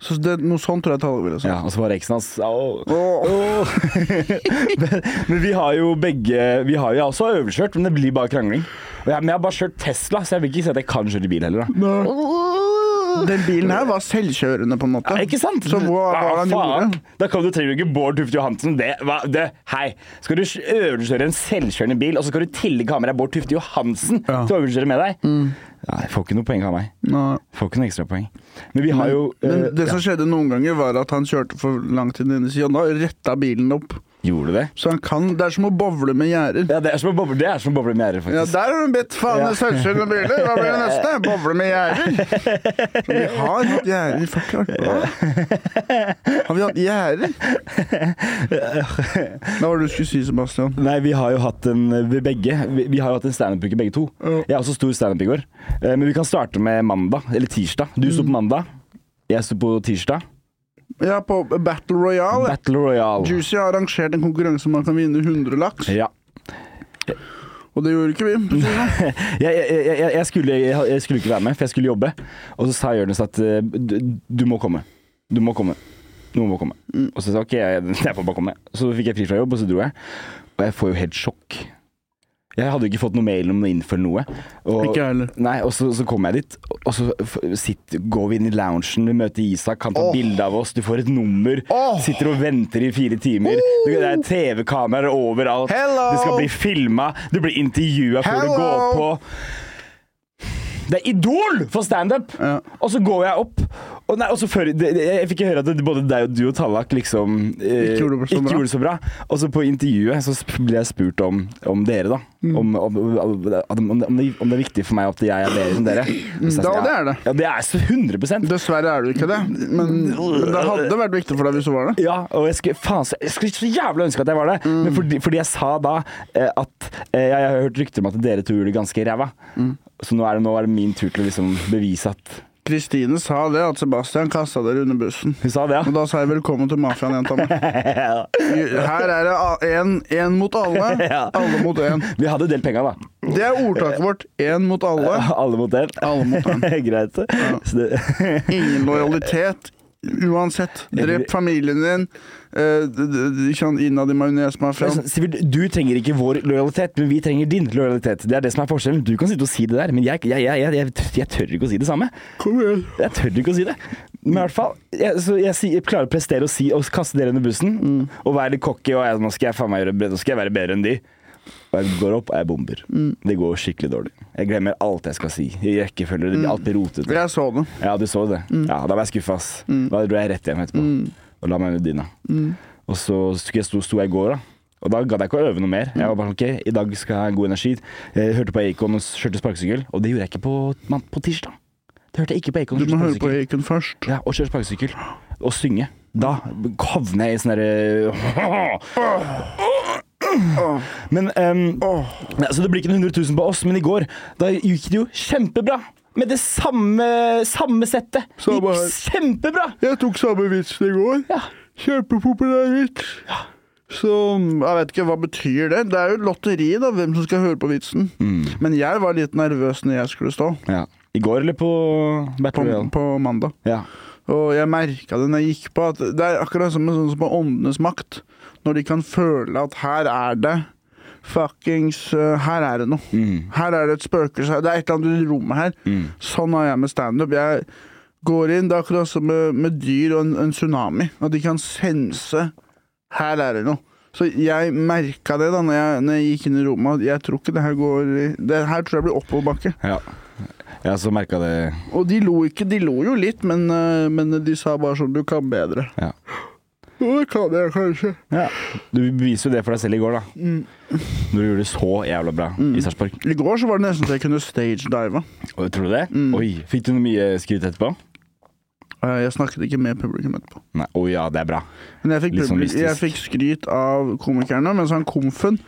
[SPEAKER 2] Så det, noe sånt tror jeg Tallak ville sagt.
[SPEAKER 1] ja, og så var eksen hans «Au».
[SPEAKER 2] Åh,
[SPEAKER 1] Åh. men, men vi har jo begge Vi har jo også øvelskjørt, men det blir bare krangling Og jeg, Men jeg har bare kjørt Tesla, så jeg vil ikke si at jeg kan kjøre bil heller da.
[SPEAKER 2] Den bilen her var selvkjørende, på en måte.
[SPEAKER 1] Ikke sant?
[SPEAKER 2] Så hva var det han
[SPEAKER 1] faen?
[SPEAKER 2] gjorde?
[SPEAKER 1] Da kan du trenger du ikke Bård Tufte Johansen. Det, hva, det, hei. Skal du sj- øvelseskjøre en selvkjørende bil, og så skal du i tillegg ha med deg Bård Tufte Johansen
[SPEAKER 2] Ja. Mm.
[SPEAKER 1] til å øvelseskjøre med deg? Nei, jeg får ikke noe poeng av meg.
[SPEAKER 2] Nei.
[SPEAKER 1] Får ikke noe ekstrapoeng. Men vi har jo
[SPEAKER 2] Men
[SPEAKER 1] eh,
[SPEAKER 2] det som skjedde noen ganger, var at han kjørte for langt til den ene siden, og da retta bilen opp.
[SPEAKER 1] ja. Gjorde du det?
[SPEAKER 2] Så han kan, Det er som å bowle med gjerder.
[SPEAKER 1] Ja, det er som å boble, det er som å boble med gjerdet,
[SPEAKER 2] Ja,
[SPEAKER 1] faktisk.
[SPEAKER 2] Der har hun bedt faen meg Sølvsjøen og biler. Hva blir det neste? Bowle med gjerder. Så vi har hatt gjerder. Fuck, har vi det? Har vi hatt gjerder? Hva var det du skulle si, Sebastian?
[SPEAKER 1] Nei, vi har jo hatt en eh, vi begge. Vi, vi har jo hatt en standup-uke, begge to.
[SPEAKER 2] Ja.
[SPEAKER 1] Jeg er også stor standup i går. Eh, men vi kan starte med mandag, eller tirsdag. Du sto på mandag, jeg sto på tirsdag.
[SPEAKER 2] Ja, på Battle Royale.
[SPEAKER 1] Battle Royale.
[SPEAKER 2] Juicy har arrangert en konkurranse om man kan vinne 100 laks,
[SPEAKER 1] Ja.
[SPEAKER 2] og det gjorde ikke vi.
[SPEAKER 1] jeg, jeg, jeg, jeg, skulle, jeg, jeg skulle ikke være med, for jeg skulle jobbe. Og så sa Jonis at eh, du, du må komme. Du må komme. Noen må komme.
[SPEAKER 2] Mm.
[SPEAKER 1] Og så sa jeg ok, jeg, jeg får bare komme. Så fikk jeg fri fra jobb, og så dro jeg. Og jeg får jo helt sjokk. Jeg hadde jo ikke fått noe mail om å innføre noe. Og,
[SPEAKER 2] Ikke jeg heller.
[SPEAKER 1] Nei, og så, så kommer jeg dit, og så f- sitt, går vi inn i loungen, vi møter Isak, han tar
[SPEAKER 2] Åh.
[SPEAKER 1] bilde av oss, du får et nummer,
[SPEAKER 2] Åh.
[SPEAKER 1] sitter og venter i fire timer. Du- Det er TV-kameraer overalt.
[SPEAKER 2] Hello.
[SPEAKER 1] Det skal bli filma, du blir intervjua før du
[SPEAKER 2] Hello.
[SPEAKER 1] går på. Det er Idol for standup!
[SPEAKER 2] Ja.
[SPEAKER 1] Og så går jeg opp. Og, nei, og så før, det, det, jeg fikk høre at det, både deg og du og Tallak liksom eh,
[SPEAKER 2] Ikke gjorde det så
[SPEAKER 1] ikke
[SPEAKER 2] bra.
[SPEAKER 1] gjorde det så bra. Og så på intervjuet så sp- ble jeg spurt om, om dere, da.
[SPEAKER 2] Mm.
[SPEAKER 1] Om, om, om, om, om, det, om det er viktig for meg at jeg er bedre enn dere. Og så jeg
[SPEAKER 2] da,
[SPEAKER 1] sa,
[SPEAKER 2] det er det.
[SPEAKER 1] Ja, det er så 100
[SPEAKER 2] sånn. Dessverre er det ikke det, men, men det hadde vært viktig for deg hvis du var det.
[SPEAKER 1] ja, og jeg skulle, faen, så- jeg skulle så jævla ønske at jeg var det.
[SPEAKER 2] Mm.
[SPEAKER 1] Men fordi, fordi jeg sa da eh, at eh, jeg har hørt rykter om at dere to gjorde det ganske ræva.
[SPEAKER 2] Mm.
[SPEAKER 1] Så nå er, det, nå er det min tur til å liksom bevise at
[SPEAKER 2] Kristine sa det, at Sebastian kasta dere under bussen.
[SPEAKER 1] Hun sa det,
[SPEAKER 2] Og
[SPEAKER 1] ja.
[SPEAKER 2] da sa jeg velkommen til mafiaen, jenta mi. Her er det én mot alle, alle mot én.
[SPEAKER 1] Vi hadde delt penga, da.
[SPEAKER 2] Det er ordtaket vårt. Én mot alle,
[SPEAKER 1] Alle mot én.
[SPEAKER 2] alle mot én.
[SPEAKER 1] Greit. Så det,
[SPEAKER 2] Ingen lojalitet. Uansett. Drep familien din. eh, d- d- d- Ikke sant, innad i
[SPEAKER 1] Men
[SPEAKER 2] majonesmafiaen.
[SPEAKER 1] sånn, Sivert, du trenger ikke vår lojalitet, men vi trenger din lojalitet. Det er det som er forskjellen. Du kan sitte og si det der, men jeg, jeg, jeg, jeg, jeg, jeg tør ikke å si det samme.
[SPEAKER 2] Kom igjen.
[SPEAKER 1] Jeg tør ikke å si det. Men i hvert fall, jeg, så jeg, sier- jeg klarer å prestere og, si, og kaste dere under bussen.
[SPEAKER 2] Mm.
[SPEAKER 1] Og være litt cocky og jeg, nå, skal jeg, faen meg gjøre, bedre- nå skal jeg være bedre enn de. Og jeg går opp og jeg bomber.
[SPEAKER 2] Mm.
[SPEAKER 1] Det går skikkelig dårlig. Jeg glemmer alt jeg skal si. I rekkefølge.
[SPEAKER 2] Mm.
[SPEAKER 1] det blir- Alt blir rotete.
[SPEAKER 2] Jeg så det.
[SPEAKER 1] Ja, du så det.
[SPEAKER 2] Mm.
[SPEAKER 1] Ja, da var jeg skuffa, ass. Da dro jeg rett hjem etterpå og la meg under dyna.
[SPEAKER 2] Mm.
[SPEAKER 1] Og så skulle jeg sto, sto jeg i går, da. Og da gadd jeg ikke å øve noe mer. Jeg var bare sånn, ok, i dag skal jeg ha god energi. Jeg hørte på Acon og kjørte sparkesykkel, og det gjorde jeg ikke på, man, på tirsdag. Det hørte jeg ikke på Acon.
[SPEAKER 2] Du må høre på Acon først.
[SPEAKER 1] Ja, og kjøre sparkesykkel. Og synge. Da havner jeg i sånn derre Men ehm, ja, Så det blir ikke noen 100 000 på oss, men i går da gikk det jo kjempebra. Med det samme, samme settet. Det
[SPEAKER 2] Samme
[SPEAKER 1] gikk
[SPEAKER 2] her.
[SPEAKER 1] kjempebra!
[SPEAKER 2] Jeg tok samme vitsen i går.
[SPEAKER 1] Ja.
[SPEAKER 2] Kjempepopulær vits. Så jeg vet ikke, hva betyr det? Det er jo et lotteri, da, hvem som skal høre på vitsen.
[SPEAKER 1] Mm.
[SPEAKER 2] Men jeg var litt nervøs når jeg skulle stå,
[SPEAKER 1] Ja. I går eller på
[SPEAKER 2] på,
[SPEAKER 1] Battle Royale?
[SPEAKER 2] på mandag.
[SPEAKER 1] Ja.
[SPEAKER 2] Og jeg merka det når jeg gikk på, at det er akkurat som med sånn som på Åndenes makt. Når de kan føle at her er det fuckings eh, Her er det noe. Her er det et spøkelse. her- Det er et eller annet i rommet her. Sånn har jeg med standup. Jeg går inn, Det er akkurat som med, med dyr og en, en tsunami. At de kan sense Her er det noe. Så jeg merka det da når jeg, når jeg gikk inn i rommet. at Jeg tror ikke det her går i- Det her tror jeg blir oppoverbakke.
[SPEAKER 1] ja. Jeg også merka det.
[SPEAKER 2] Og de lo ikke. De lo jo litt, men, eh, men de sa bare sånn Du kan bedre.
[SPEAKER 1] Ja.
[SPEAKER 2] Jo, det kan jeg kanskje.
[SPEAKER 1] Ja. Mm. Du beviser jo det for deg selv i går, da. Når du gjorde det så jævla bra i Sarpsborg.
[SPEAKER 2] I går så var det nesten så jeg kunne stagedive.
[SPEAKER 1] Og Tror du det? Oi, Fikk du noe mye skryt etterpå?
[SPEAKER 2] Eh, Jeg snakket ikke med publikum etterpå.
[SPEAKER 1] Nei. Å ja, det er bra.
[SPEAKER 2] Men jeg fikk,
[SPEAKER 1] Litt sånn
[SPEAKER 2] publi-
[SPEAKER 1] mystisk.
[SPEAKER 2] jeg fikk skryt av komikerne, mens han komfen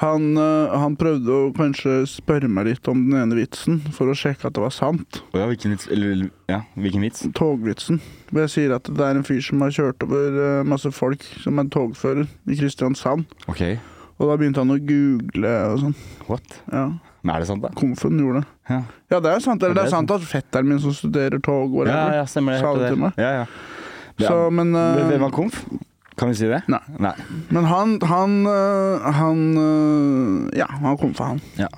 [SPEAKER 2] han, eh, han prøvde å kanskje spørre meg litt om den ene vitsen, for å sjekke at det var sant.
[SPEAKER 1] Å ja, hvilken vits? Eller, ja, hvilken vits?
[SPEAKER 2] Togvitsen. Hvor jeg sier at det er en fyr som har kjørt over eh, masse folk, som er en togfører i Kristiansand.
[SPEAKER 1] OK.
[SPEAKER 2] Og da begynte han å google og sånn.
[SPEAKER 1] What?
[SPEAKER 2] Ja,
[SPEAKER 1] Men er det sant, da?
[SPEAKER 2] Komfen gjorde det.
[SPEAKER 1] Ja,
[SPEAKER 2] Ja, det er sant. Eller
[SPEAKER 1] Ja, det
[SPEAKER 2] det er
[SPEAKER 1] er
[SPEAKER 2] sant at fetteren min som studerer tog, whatever,
[SPEAKER 1] ja, ja stemmer det.
[SPEAKER 2] sa det til meg.
[SPEAKER 1] Ja, ja.
[SPEAKER 2] Så, men eh,
[SPEAKER 1] Hvem var komf? Kan vi si det?
[SPEAKER 2] Nei.
[SPEAKER 1] Nei.
[SPEAKER 2] Men han, han, øh, han øh, Ja, han kom for han.
[SPEAKER 1] Ja.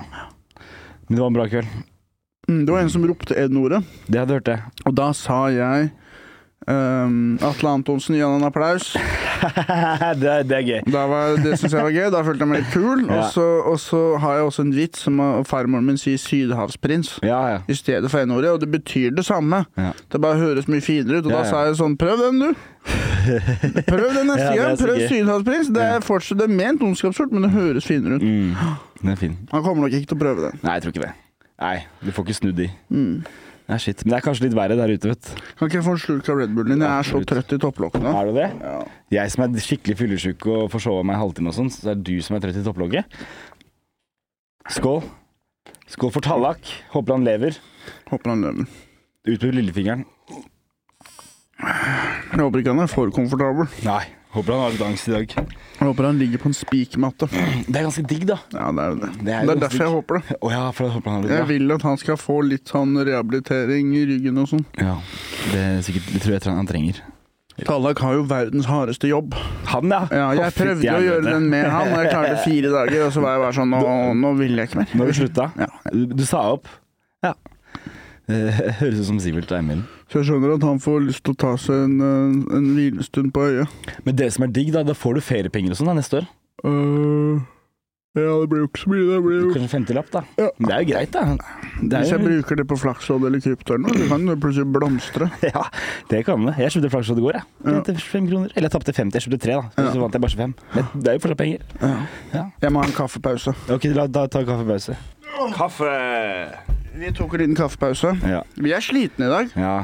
[SPEAKER 1] Men det var en bra kveld.
[SPEAKER 2] Mm, Det var en som ropte N-ordet,
[SPEAKER 1] Det hadde hørt, det.
[SPEAKER 2] og da sa jeg øhm, Atle Antonsen, gi han en applaus.
[SPEAKER 1] det, er, det er gøy.
[SPEAKER 2] Da var, det syns jeg var gøy. Da følte jeg meg litt kul.
[SPEAKER 1] Ja.
[SPEAKER 2] Og, så, og så har jeg også en vits som øh, farmoren min sier 'sydhavsprins'
[SPEAKER 1] Ja, ja.
[SPEAKER 2] i stedet for N-ordet, og det betyr det samme.
[SPEAKER 1] Ja.
[SPEAKER 2] Det bare høres mye finere ut. Og
[SPEAKER 1] Ja,
[SPEAKER 2] da
[SPEAKER 1] ja.
[SPEAKER 2] sa jeg sånn Prøv den, du! Prøv den
[SPEAKER 1] Ja,
[SPEAKER 2] neste
[SPEAKER 1] det er
[SPEAKER 2] gang.
[SPEAKER 1] så
[SPEAKER 2] Prøv
[SPEAKER 1] gøy.
[SPEAKER 2] 'sydhavsprins'. Det
[SPEAKER 1] Ja.
[SPEAKER 2] er fortsatt det er ment ondskapsfullt, men det høres finere ut.
[SPEAKER 1] Mm. Den er fin.
[SPEAKER 2] Han kommer nok ikke til å prøve den.
[SPEAKER 1] Nei, jeg tror ikke det. Nei, du får ikke snudd de. Mm. Nei, shit. Men det er kanskje litt verre der ute, vet du.
[SPEAKER 2] Kan ikke jeg få en slurk av Red Bullen din? Jeg er så
[SPEAKER 1] Absolutt.
[SPEAKER 2] trøtt i topplokkene.
[SPEAKER 1] Er du det?
[SPEAKER 2] Ja.
[SPEAKER 1] Jeg som er skikkelig fyllesyk og forsova meg en halvtime og sånn, så det er du som er trøtt i topplogget. Skål. Skål for Tallak. Håper han lever.
[SPEAKER 2] Håper han lever.
[SPEAKER 1] Ut med lillefingeren.
[SPEAKER 2] Jeg håper ikke han er for komfortabel.
[SPEAKER 1] Nei. Håper han har litt angst i dag.
[SPEAKER 2] Jeg håper han ligger på en spikermatte.
[SPEAKER 1] Det er ganske digg, da.
[SPEAKER 2] Ja, det er jo det.
[SPEAKER 1] Det
[SPEAKER 2] Det
[SPEAKER 1] er
[SPEAKER 2] er,
[SPEAKER 1] jo
[SPEAKER 2] derfor jeg håper det.
[SPEAKER 1] Å ja, for jeg håper han har det
[SPEAKER 2] Jeg
[SPEAKER 1] bra.
[SPEAKER 2] vil at han skal få litt sånn rehabilitering i ryggen og sånn.
[SPEAKER 1] Ja, det, er sikkert, det tror jeg han trenger.
[SPEAKER 2] Tallak har jo verdens hardeste jobb.
[SPEAKER 1] Han, ja.
[SPEAKER 2] Ja,
[SPEAKER 1] Å,
[SPEAKER 2] jeg
[SPEAKER 1] fytti
[SPEAKER 2] prøvde å gjøre
[SPEAKER 1] helvete.
[SPEAKER 2] den med han, og jeg klarte fire dager, og så var jeg bare sånn Nå, nå vil jeg ikke mer.
[SPEAKER 1] Nå har vi slutta.
[SPEAKER 2] Ja.
[SPEAKER 1] Du sa opp. Ja. Høres ut som Sivert og Emil.
[SPEAKER 2] Så jeg skjønner at han får lyst til å ta seg en, eh, en hvilestund på øyet.
[SPEAKER 1] Men det som er digg, da, da får du feriepenger og sånn da neste år.
[SPEAKER 2] Øh, ja, det blir jo ikke så mye. Det blir jo
[SPEAKER 1] Kanskje en femtilapp, da.
[SPEAKER 2] Ja.
[SPEAKER 1] Men det er jo greit, da. Det er
[SPEAKER 2] Hvis jeg
[SPEAKER 1] jo,
[SPEAKER 2] bruker det på flakslodd eller krypto, eller noe, så kan det plutselig blomstre.
[SPEAKER 1] ja, det kan det. Jeg kjøpte flakslodd i går, jeg. Tjente fem kroner. Eller jeg tapte 50, jeg kjøpte tre, da. Så,
[SPEAKER 2] Ja.
[SPEAKER 1] vant jeg bare 25. Men det er jo fortsatt penger.
[SPEAKER 2] Jeg må ha en kaffepause.
[SPEAKER 1] Ok, la, da tar vi kaffepause. Kaffe!
[SPEAKER 2] Vi tok en liten kaffepause.
[SPEAKER 1] Ja.
[SPEAKER 2] Vi er slitne i dag.
[SPEAKER 1] ja.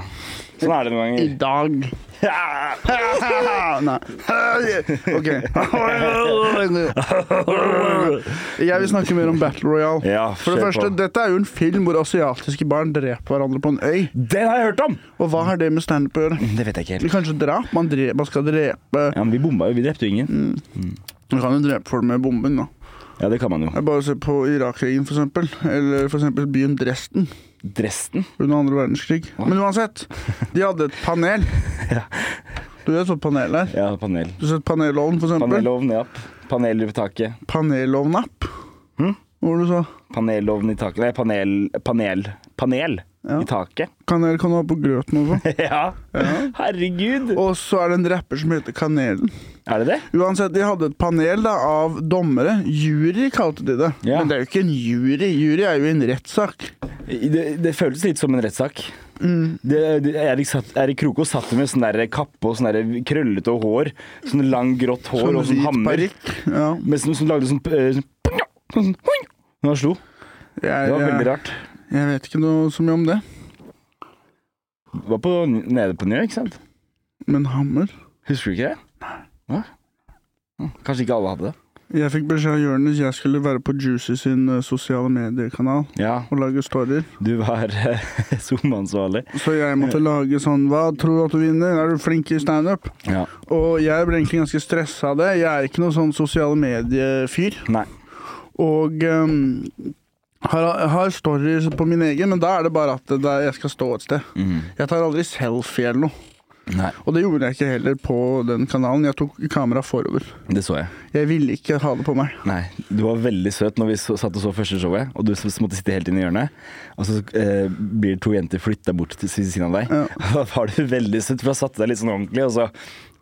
[SPEAKER 1] Sånn er det noen ganger.
[SPEAKER 2] dag. Nei. OK. Jeg vil snakke mer om Battle Royale.
[SPEAKER 1] Ja,
[SPEAKER 2] For det
[SPEAKER 1] kjør
[SPEAKER 2] første,
[SPEAKER 1] på.
[SPEAKER 2] Dette er jo en film hvor asiatiske barn dreper hverandre på en øy.
[SPEAKER 1] Den har jeg hørt om!
[SPEAKER 2] Og hva har det med standup å gjøre?
[SPEAKER 1] Det vet jeg ikke helt.
[SPEAKER 2] Kanskje drap? Man, dre man skal drepe
[SPEAKER 1] Mm. Ja, men vi bomba jo, vi drepte jo ingen.
[SPEAKER 2] Man kan jo drepe folk med bomben, da.
[SPEAKER 1] Ja, det kan man jo.
[SPEAKER 2] Jeg bare ser på Irak-krigen, for eksempel. Eller for eksempel byen Dresden.
[SPEAKER 1] Dresden.
[SPEAKER 2] under andre verdenskrig. Men uansett, de hadde et panel. Du vet hva panel er?
[SPEAKER 1] Ja, panel.
[SPEAKER 2] Du har sett panelovn, for eksempel.
[SPEAKER 1] Panelovn, ja. Paneler på taket.
[SPEAKER 2] Panelovnapp.
[SPEAKER 1] Hm?
[SPEAKER 2] Hva var det du sa?
[SPEAKER 1] Panelovn i taket. Nei, panel Panel. Panel
[SPEAKER 2] Ja.
[SPEAKER 1] i taket.
[SPEAKER 2] Kanel kan du ha på grøten også.
[SPEAKER 1] ja. Herregud.
[SPEAKER 2] Og så er det en rapper som heter Kanelen.
[SPEAKER 1] Er det det?
[SPEAKER 2] Uansett, de hadde et panel da, av dommere. Jury kalte de det.
[SPEAKER 1] Ja.
[SPEAKER 2] Men det er jo ikke en jury. Jury er jo en rettssak.
[SPEAKER 1] I- Det, det føles litt som en rettssak. Det, det, Erik, satt, Erik Krokås satt med sånn der kappe og sånn der krøllete hår. Sånn lang, grått hår og sånn hammer.
[SPEAKER 2] parykk. Ja.
[SPEAKER 1] Men som, som lagde sånn, eh, sånn, sånn Når han slo. Det
[SPEAKER 2] Jeg,
[SPEAKER 1] var veldig
[SPEAKER 2] jeg,
[SPEAKER 1] rart.
[SPEAKER 2] jeg vet ikke noe så mye om det.
[SPEAKER 1] Var på, nede på Njø, ikke sant?
[SPEAKER 2] Men hammer
[SPEAKER 1] Husker du ikke det? Nei. Hm, Kanskje ikke alle hadde det.
[SPEAKER 2] Jeg fikk beskjed av Jonis jeg skulle være på Juicy sin eh, sosiale mediekanal
[SPEAKER 1] Ja,
[SPEAKER 2] og lage storyer.
[SPEAKER 1] du var eh, SoMe-ansvarlig.
[SPEAKER 2] Så jeg måtte lage sånn Hva tror du at du vinner? Er du flink i standup?
[SPEAKER 1] Ja.
[SPEAKER 2] Og jeg ble egentlig ganske stressa av det. Jeg er ikke noen sånn sosiale medier-fyr.
[SPEAKER 1] Nei.
[SPEAKER 2] Og ehm, har, har stories på min egen, men da er det bare at det, der jeg skal stå et sted.
[SPEAKER 1] Mhm.
[SPEAKER 2] Jeg tar aldri selfie eller noe.
[SPEAKER 1] Nei.
[SPEAKER 2] Og det gjorde jeg ikke heller på den kanalen. Jeg tok kamera forover.
[SPEAKER 1] Det så jeg.
[SPEAKER 2] Jeg ville ikke ha det på meg.
[SPEAKER 1] Nei, Du var veldig søt når vi så, satt og så første showet, og du s- måtte sitte helt inn i hjørnet. Og så eh, blir to jenter flytta bort til ved siden av deg. Og da var du veldig søt, for da satte du deg litt sånn ordentlig, og så,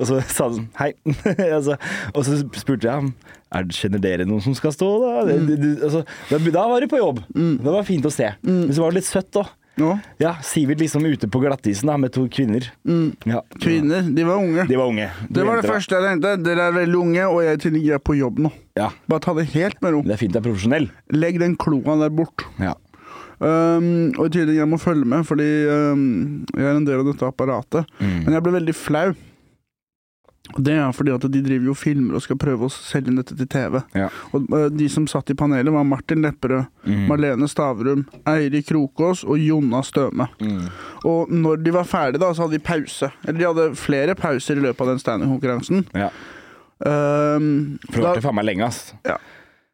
[SPEAKER 1] og så sa du sånn hei. og, så, og så spurte jeg ham er, kjenner dere noen som skal stå, da. Det,
[SPEAKER 2] Mm.
[SPEAKER 1] det, det, altså, da, da var du på jobb. Det var fint å se.
[SPEAKER 2] Mm.
[SPEAKER 1] Men så var det litt søtt, da.
[SPEAKER 2] Nå,
[SPEAKER 1] Ja, Sivert liksom ute på glattisen da, med to kvinner. Ja.
[SPEAKER 2] Mm. kvinner, de var unge.
[SPEAKER 1] De var unge. To
[SPEAKER 2] Det var det
[SPEAKER 1] jenter, da.
[SPEAKER 2] første jeg tenkte. Dere er veldig unge, og jeg tillegger jeg er på jobb nå.
[SPEAKER 1] Ja.
[SPEAKER 2] Bare ta det helt med ro.
[SPEAKER 1] Det er fint å være profesjonell.
[SPEAKER 2] Legg den kloa der bort.
[SPEAKER 1] Ja.
[SPEAKER 2] Um, og i tillegg, jeg må følge med, fordi um, jeg er en del av dette apparatet. Men jeg ble veldig flau. Og Det er fordi at de driver jo og filmer og skal prøve å selge inn dette til TV.
[SPEAKER 1] Ja.
[SPEAKER 2] Og uh, De som satt i panelet, var Martin Lepperød, Marlene Stavrum, Eirik Krokås og Jonna Støme. Og når de var ferdige, da, så hadde de pause. Eller de hadde flere pauser i løpet av den standup-konkurransen.
[SPEAKER 1] Ja.
[SPEAKER 2] Um,
[SPEAKER 1] For det
[SPEAKER 2] da-
[SPEAKER 1] varte faen meg lenge, ass.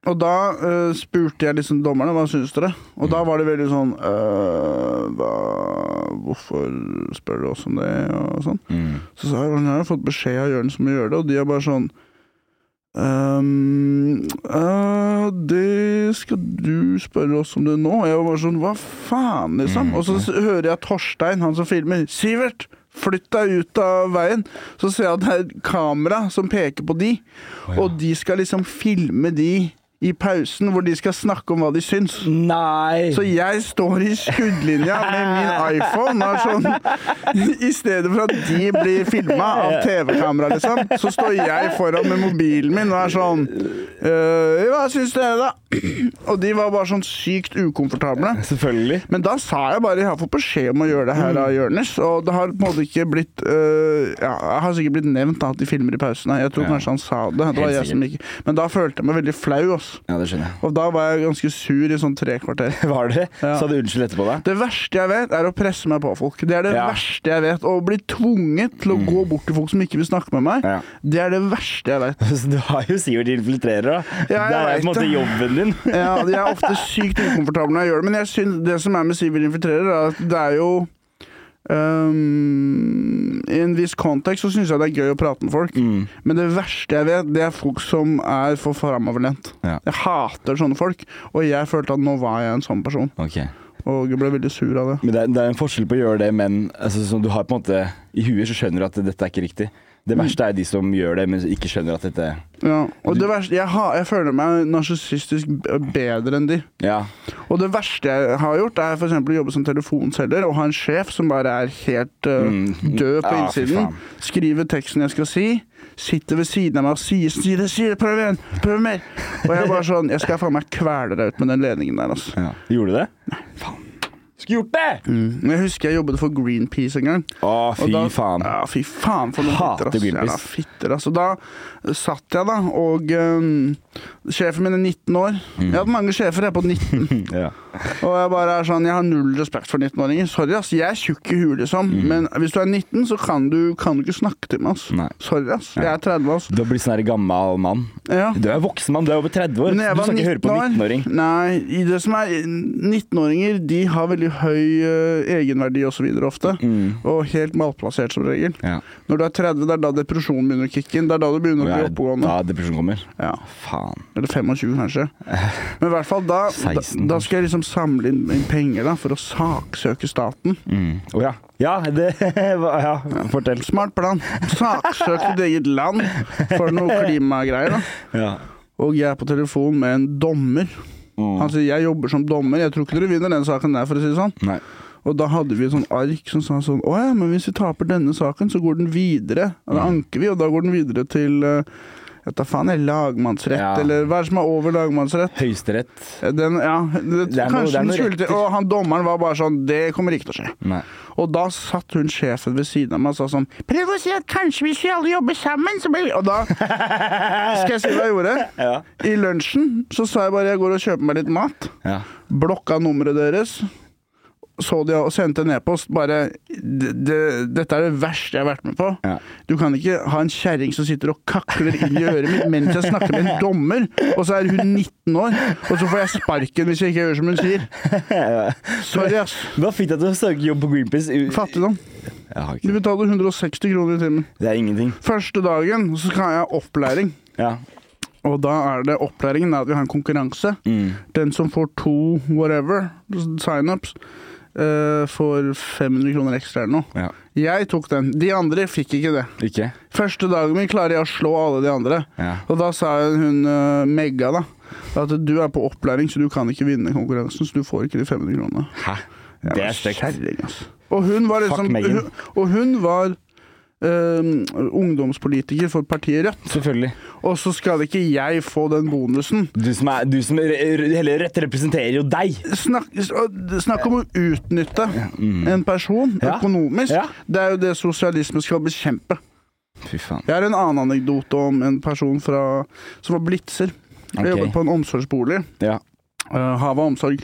[SPEAKER 2] og da eh, spurte jeg liksom dommerne hva syns dere? Og da var det veldig sånn «Øh, hva, Hvorfor spør du oss om det? Og sånn. Så sa jeg at jeg har fått beskjed av Jørn som må gjøre det, og de er bare sånn «Øhm, øh, Ehm, det skal du spørre oss om det nå? Og jeg var bare sånn, hva faen, liksom? Og så s- hører jeg Torstein, han som filmer. Sivert! Flytt deg ut av veien! Så ser jeg at det er et kamera som peker på de, og de skal liksom filme de i pausen, hvor de skal snakke om hva de syns.
[SPEAKER 1] Nei!
[SPEAKER 2] Så jeg står i skuddlinja med min iPhone og er sånn I stedet for at de blir filma av TV-kamera, liksom, så står jeg foran med mobilen min og er sånn «Øh, Hva syns dere, da? Og de var bare sånn sykt ukomfortable.
[SPEAKER 1] Selvfølgelig.
[SPEAKER 2] Men da sa jeg bare jeg har fått beskjed om å gjøre det her av Jonis, og det har på en måte ikke blitt øh, ja, Jeg har sikkert blitt nevnt da, at de filmer i pausene. Jeg tror
[SPEAKER 1] Ja.
[SPEAKER 2] kanskje han sa det. det var
[SPEAKER 1] Helt
[SPEAKER 2] jeg som ikke, men da følte jeg meg veldig flau. Ass.
[SPEAKER 1] Ja, det skjønner jeg.
[SPEAKER 2] Og da var jeg ganske sur i sånn tre kvarter.
[SPEAKER 1] Var det?
[SPEAKER 2] Ja.
[SPEAKER 1] Sa du unnskyld etterpå, da?
[SPEAKER 2] Det verste jeg vet, er å presse meg på folk. Det er det
[SPEAKER 1] Ja. Mm.
[SPEAKER 2] verste jeg vet. Å bli tvunget til å gå bort til folk som ikke vil snakke med meg,
[SPEAKER 1] Ja.
[SPEAKER 2] det er det verste jeg vet.
[SPEAKER 1] Så du har jo Sivert infiltrerer, da.
[SPEAKER 2] Ja, jeg
[SPEAKER 1] det er jo på en
[SPEAKER 2] vet
[SPEAKER 1] måte
[SPEAKER 2] det.
[SPEAKER 1] jobben din.
[SPEAKER 2] Ja, jeg er ofte sykt ukomfortabel når jeg gjør det, men jeg synes det som er med Sivert infiltrerer, er at det er jo øhm, I en viss kontekst så syns jeg det er gøy å prate med folk,
[SPEAKER 1] Mm.
[SPEAKER 2] men det verste jeg vet, det er folk som er for framoverlent.
[SPEAKER 1] Ja.
[SPEAKER 2] Jeg hater sånne folk, og jeg følte at nå var jeg en sånn person,
[SPEAKER 1] Ok.
[SPEAKER 2] og jeg ble veldig sur av det.
[SPEAKER 1] Men det er, det er en forskjell på å gjøre det, men altså, som du har på en måte I huet så skjønner du at dette er ikke riktig. Det verste er de som gjør det, men ikke skjønner at dette
[SPEAKER 2] Ja, og det verste, jeg, har, jeg føler meg narsissistisk b- bedre enn de.
[SPEAKER 1] Ja.
[SPEAKER 2] Og det verste jeg har gjort, er f.eks. å jobbe som telefonselger og ha en sjef som bare er helt øh, død
[SPEAKER 1] Mm.
[SPEAKER 2] på
[SPEAKER 1] Ja, fy
[SPEAKER 2] innsiden.
[SPEAKER 1] faen.
[SPEAKER 2] Skriver teksten jeg skal si, sitter ved siden av meg og sier 'si det, si det, prøv igjen, prøv mer'. Og jeg er bare sånn Jeg skal faen meg kvele deg ut med den ledningen der, altså.
[SPEAKER 1] ja. Gjorde du det? Nei, faen. Skulle gjort det!
[SPEAKER 2] Men jeg husker jeg jobbet for Greenpeace en gang.
[SPEAKER 1] Å,
[SPEAKER 2] Og
[SPEAKER 1] fy
[SPEAKER 2] da-
[SPEAKER 1] faen.
[SPEAKER 2] Ja, fy faen for noen
[SPEAKER 1] Hater
[SPEAKER 2] fitter, ass.
[SPEAKER 1] Greenpeace.
[SPEAKER 2] Jævla fitter, ass. Og Da satt jeg, da, og øhm, sjefen min er 19 år.
[SPEAKER 1] Mm.
[SPEAKER 2] Jeg har hatt mange sjefer, jeg, på 19.
[SPEAKER 1] Ja.
[SPEAKER 2] og jeg bare er sånn, jeg har null respekt for 19-åringer. Sorry, ass. Jeg er tjukk i huet, liksom.
[SPEAKER 1] Mm.
[SPEAKER 2] Men hvis du er 19, så kan du, kan du ikke snakke til meg, ass.
[SPEAKER 1] Nei.
[SPEAKER 2] Sorry, ass. Jeg er 30, ass.
[SPEAKER 1] Du har blitt sånn her gammel mann.
[SPEAKER 2] Ja.
[SPEAKER 1] Du er voksen mann, du er over 30 år.
[SPEAKER 2] Men jeg
[SPEAKER 1] Du
[SPEAKER 2] var
[SPEAKER 1] skal ikke høre på
[SPEAKER 2] 19 år.
[SPEAKER 1] 19-åring.
[SPEAKER 2] Nei, i det som er 19-åringer de har veldig høy uh, egenverdi osv. ofte. Og helt malplassert som regel.
[SPEAKER 1] Mm. Ja.
[SPEAKER 2] Når du er 30, det er da depresjonen begynner å kicke inn. Det er da du begynner å
[SPEAKER 1] Og
[SPEAKER 2] bli
[SPEAKER 1] jeg-
[SPEAKER 2] oppegående.
[SPEAKER 1] Da depresjonen kommer.
[SPEAKER 2] Ja.
[SPEAKER 1] Faen.
[SPEAKER 2] Eller 25, kanskje. Men i hvert fall da, da,
[SPEAKER 1] 16.
[SPEAKER 2] da skal jeg liksom samle inn inn penger da, for å saksøke staten.
[SPEAKER 1] Å ja. Ja, det hva- Ja, fortell.
[SPEAKER 2] Smart plan. Saksøke ditt eget land for noe klimagreier. da.
[SPEAKER 1] Ja.
[SPEAKER 2] Og jeg er på telefon med en dommer.
[SPEAKER 1] Mm.
[SPEAKER 2] Han sier 'jeg jobber som dommer', jeg tror ikke dere vinner den saken der, for å si det sånn.
[SPEAKER 1] Nei.
[SPEAKER 2] Og da hadde vi et sånt ark som sa sånn Å
[SPEAKER 1] Mm.
[SPEAKER 2] ja, men hvis vi taper denne saken, så går den videre. Ja, Da anker vi, og da går den videre til eh, Jeg tar faen, jeg lagmannsrett,
[SPEAKER 1] Ja.
[SPEAKER 2] eller hva er det som er over lagmannsrett? Eh,
[SPEAKER 1] Høyesterett.
[SPEAKER 2] Den, ja,
[SPEAKER 1] Det
[SPEAKER 2] det,
[SPEAKER 1] er noe- det er
[SPEAKER 2] kanskje den
[SPEAKER 1] noe
[SPEAKER 2] skulle til
[SPEAKER 1] retter.
[SPEAKER 2] Og han dommeren var bare sånn Det kommer ikke til å skje.
[SPEAKER 1] Nei.
[SPEAKER 2] Og da satt hun sjefen ved siden av meg og sa sånn Prøv å si at kanskje hvis vi alle jobber sammen, så blir vi Og da Skal jeg si hva jeg gjorde?
[SPEAKER 1] Ja.
[SPEAKER 2] I lunsjen så sa jeg bare jeg går og kjøper meg litt mat.
[SPEAKER 1] Ja.
[SPEAKER 2] Blokka nummeret deres. Så de og sendte en e-post. Bare det, det, 'Dette er det verste jeg har vært med på'.
[SPEAKER 1] Ja.
[SPEAKER 2] Du kan ikke ha en kjerring som sitter og kakler inn i øret mitt mens jeg snakker med en dommer, og så er hun 19 år, og så får jeg sparken hvis jeg ikke gjør som hun sier. Sorry, ass.
[SPEAKER 1] Hva fikk deg til å søke jobb på Greenpeace? U-
[SPEAKER 2] Fattigdom.
[SPEAKER 1] Jeg har
[SPEAKER 2] Du
[SPEAKER 1] ikke.
[SPEAKER 2] betaler 160 kroner i timen.
[SPEAKER 1] Det er ingenting.
[SPEAKER 2] Første dagen så skal jeg ha opplæring,
[SPEAKER 1] Ja.
[SPEAKER 2] og da er det opplæringen er at vi har en konkurranse.
[SPEAKER 1] Mm.
[SPEAKER 2] Den som får to whatever signups, eh, får 500 kroner ekstra eller noe.
[SPEAKER 1] ja.
[SPEAKER 2] Jeg tok den. De andre fikk ikke det.
[SPEAKER 1] Ikke?
[SPEAKER 2] Første dagen min klarer jeg å slå alle de andre.
[SPEAKER 1] Ja.
[SPEAKER 2] Og da sa hun eh, Megga da at du er på opplæring, så du kan ikke vinne konkurransen. Så du får ikke de 500 kronene.
[SPEAKER 1] Hæ?
[SPEAKER 2] Jævla
[SPEAKER 1] Det er stygt.
[SPEAKER 2] Kjerring, altså. Og hun var liksom
[SPEAKER 1] Fuck Meggen.
[SPEAKER 2] hun, Og hun var eh, ungdomspolitiker for partiet Rødt.
[SPEAKER 1] Selvfølgelig.
[SPEAKER 2] Og så skal ikke jeg få den bonusen.
[SPEAKER 1] Du som, er, du som re- re- hele Rødt representerer jo deg.
[SPEAKER 2] Snakk, snakk om å utnytte en person
[SPEAKER 1] mm. Ja.
[SPEAKER 2] økonomisk.
[SPEAKER 1] Ja.
[SPEAKER 2] Det er jo det sosialisme skal bekjempe.
[SPEAKER 1] Fy faen.
[SPEAKER 2] Jeg har en annen anekdote om en person fra, som var blitzer.
[SPEAKER 1] Ok.
[SPEAKER 2] Jeg jobbet på en omsorgsbolig.
[SPEAKER 1] Ja.
[SPEAKER 2] uh, Hav og omsorg.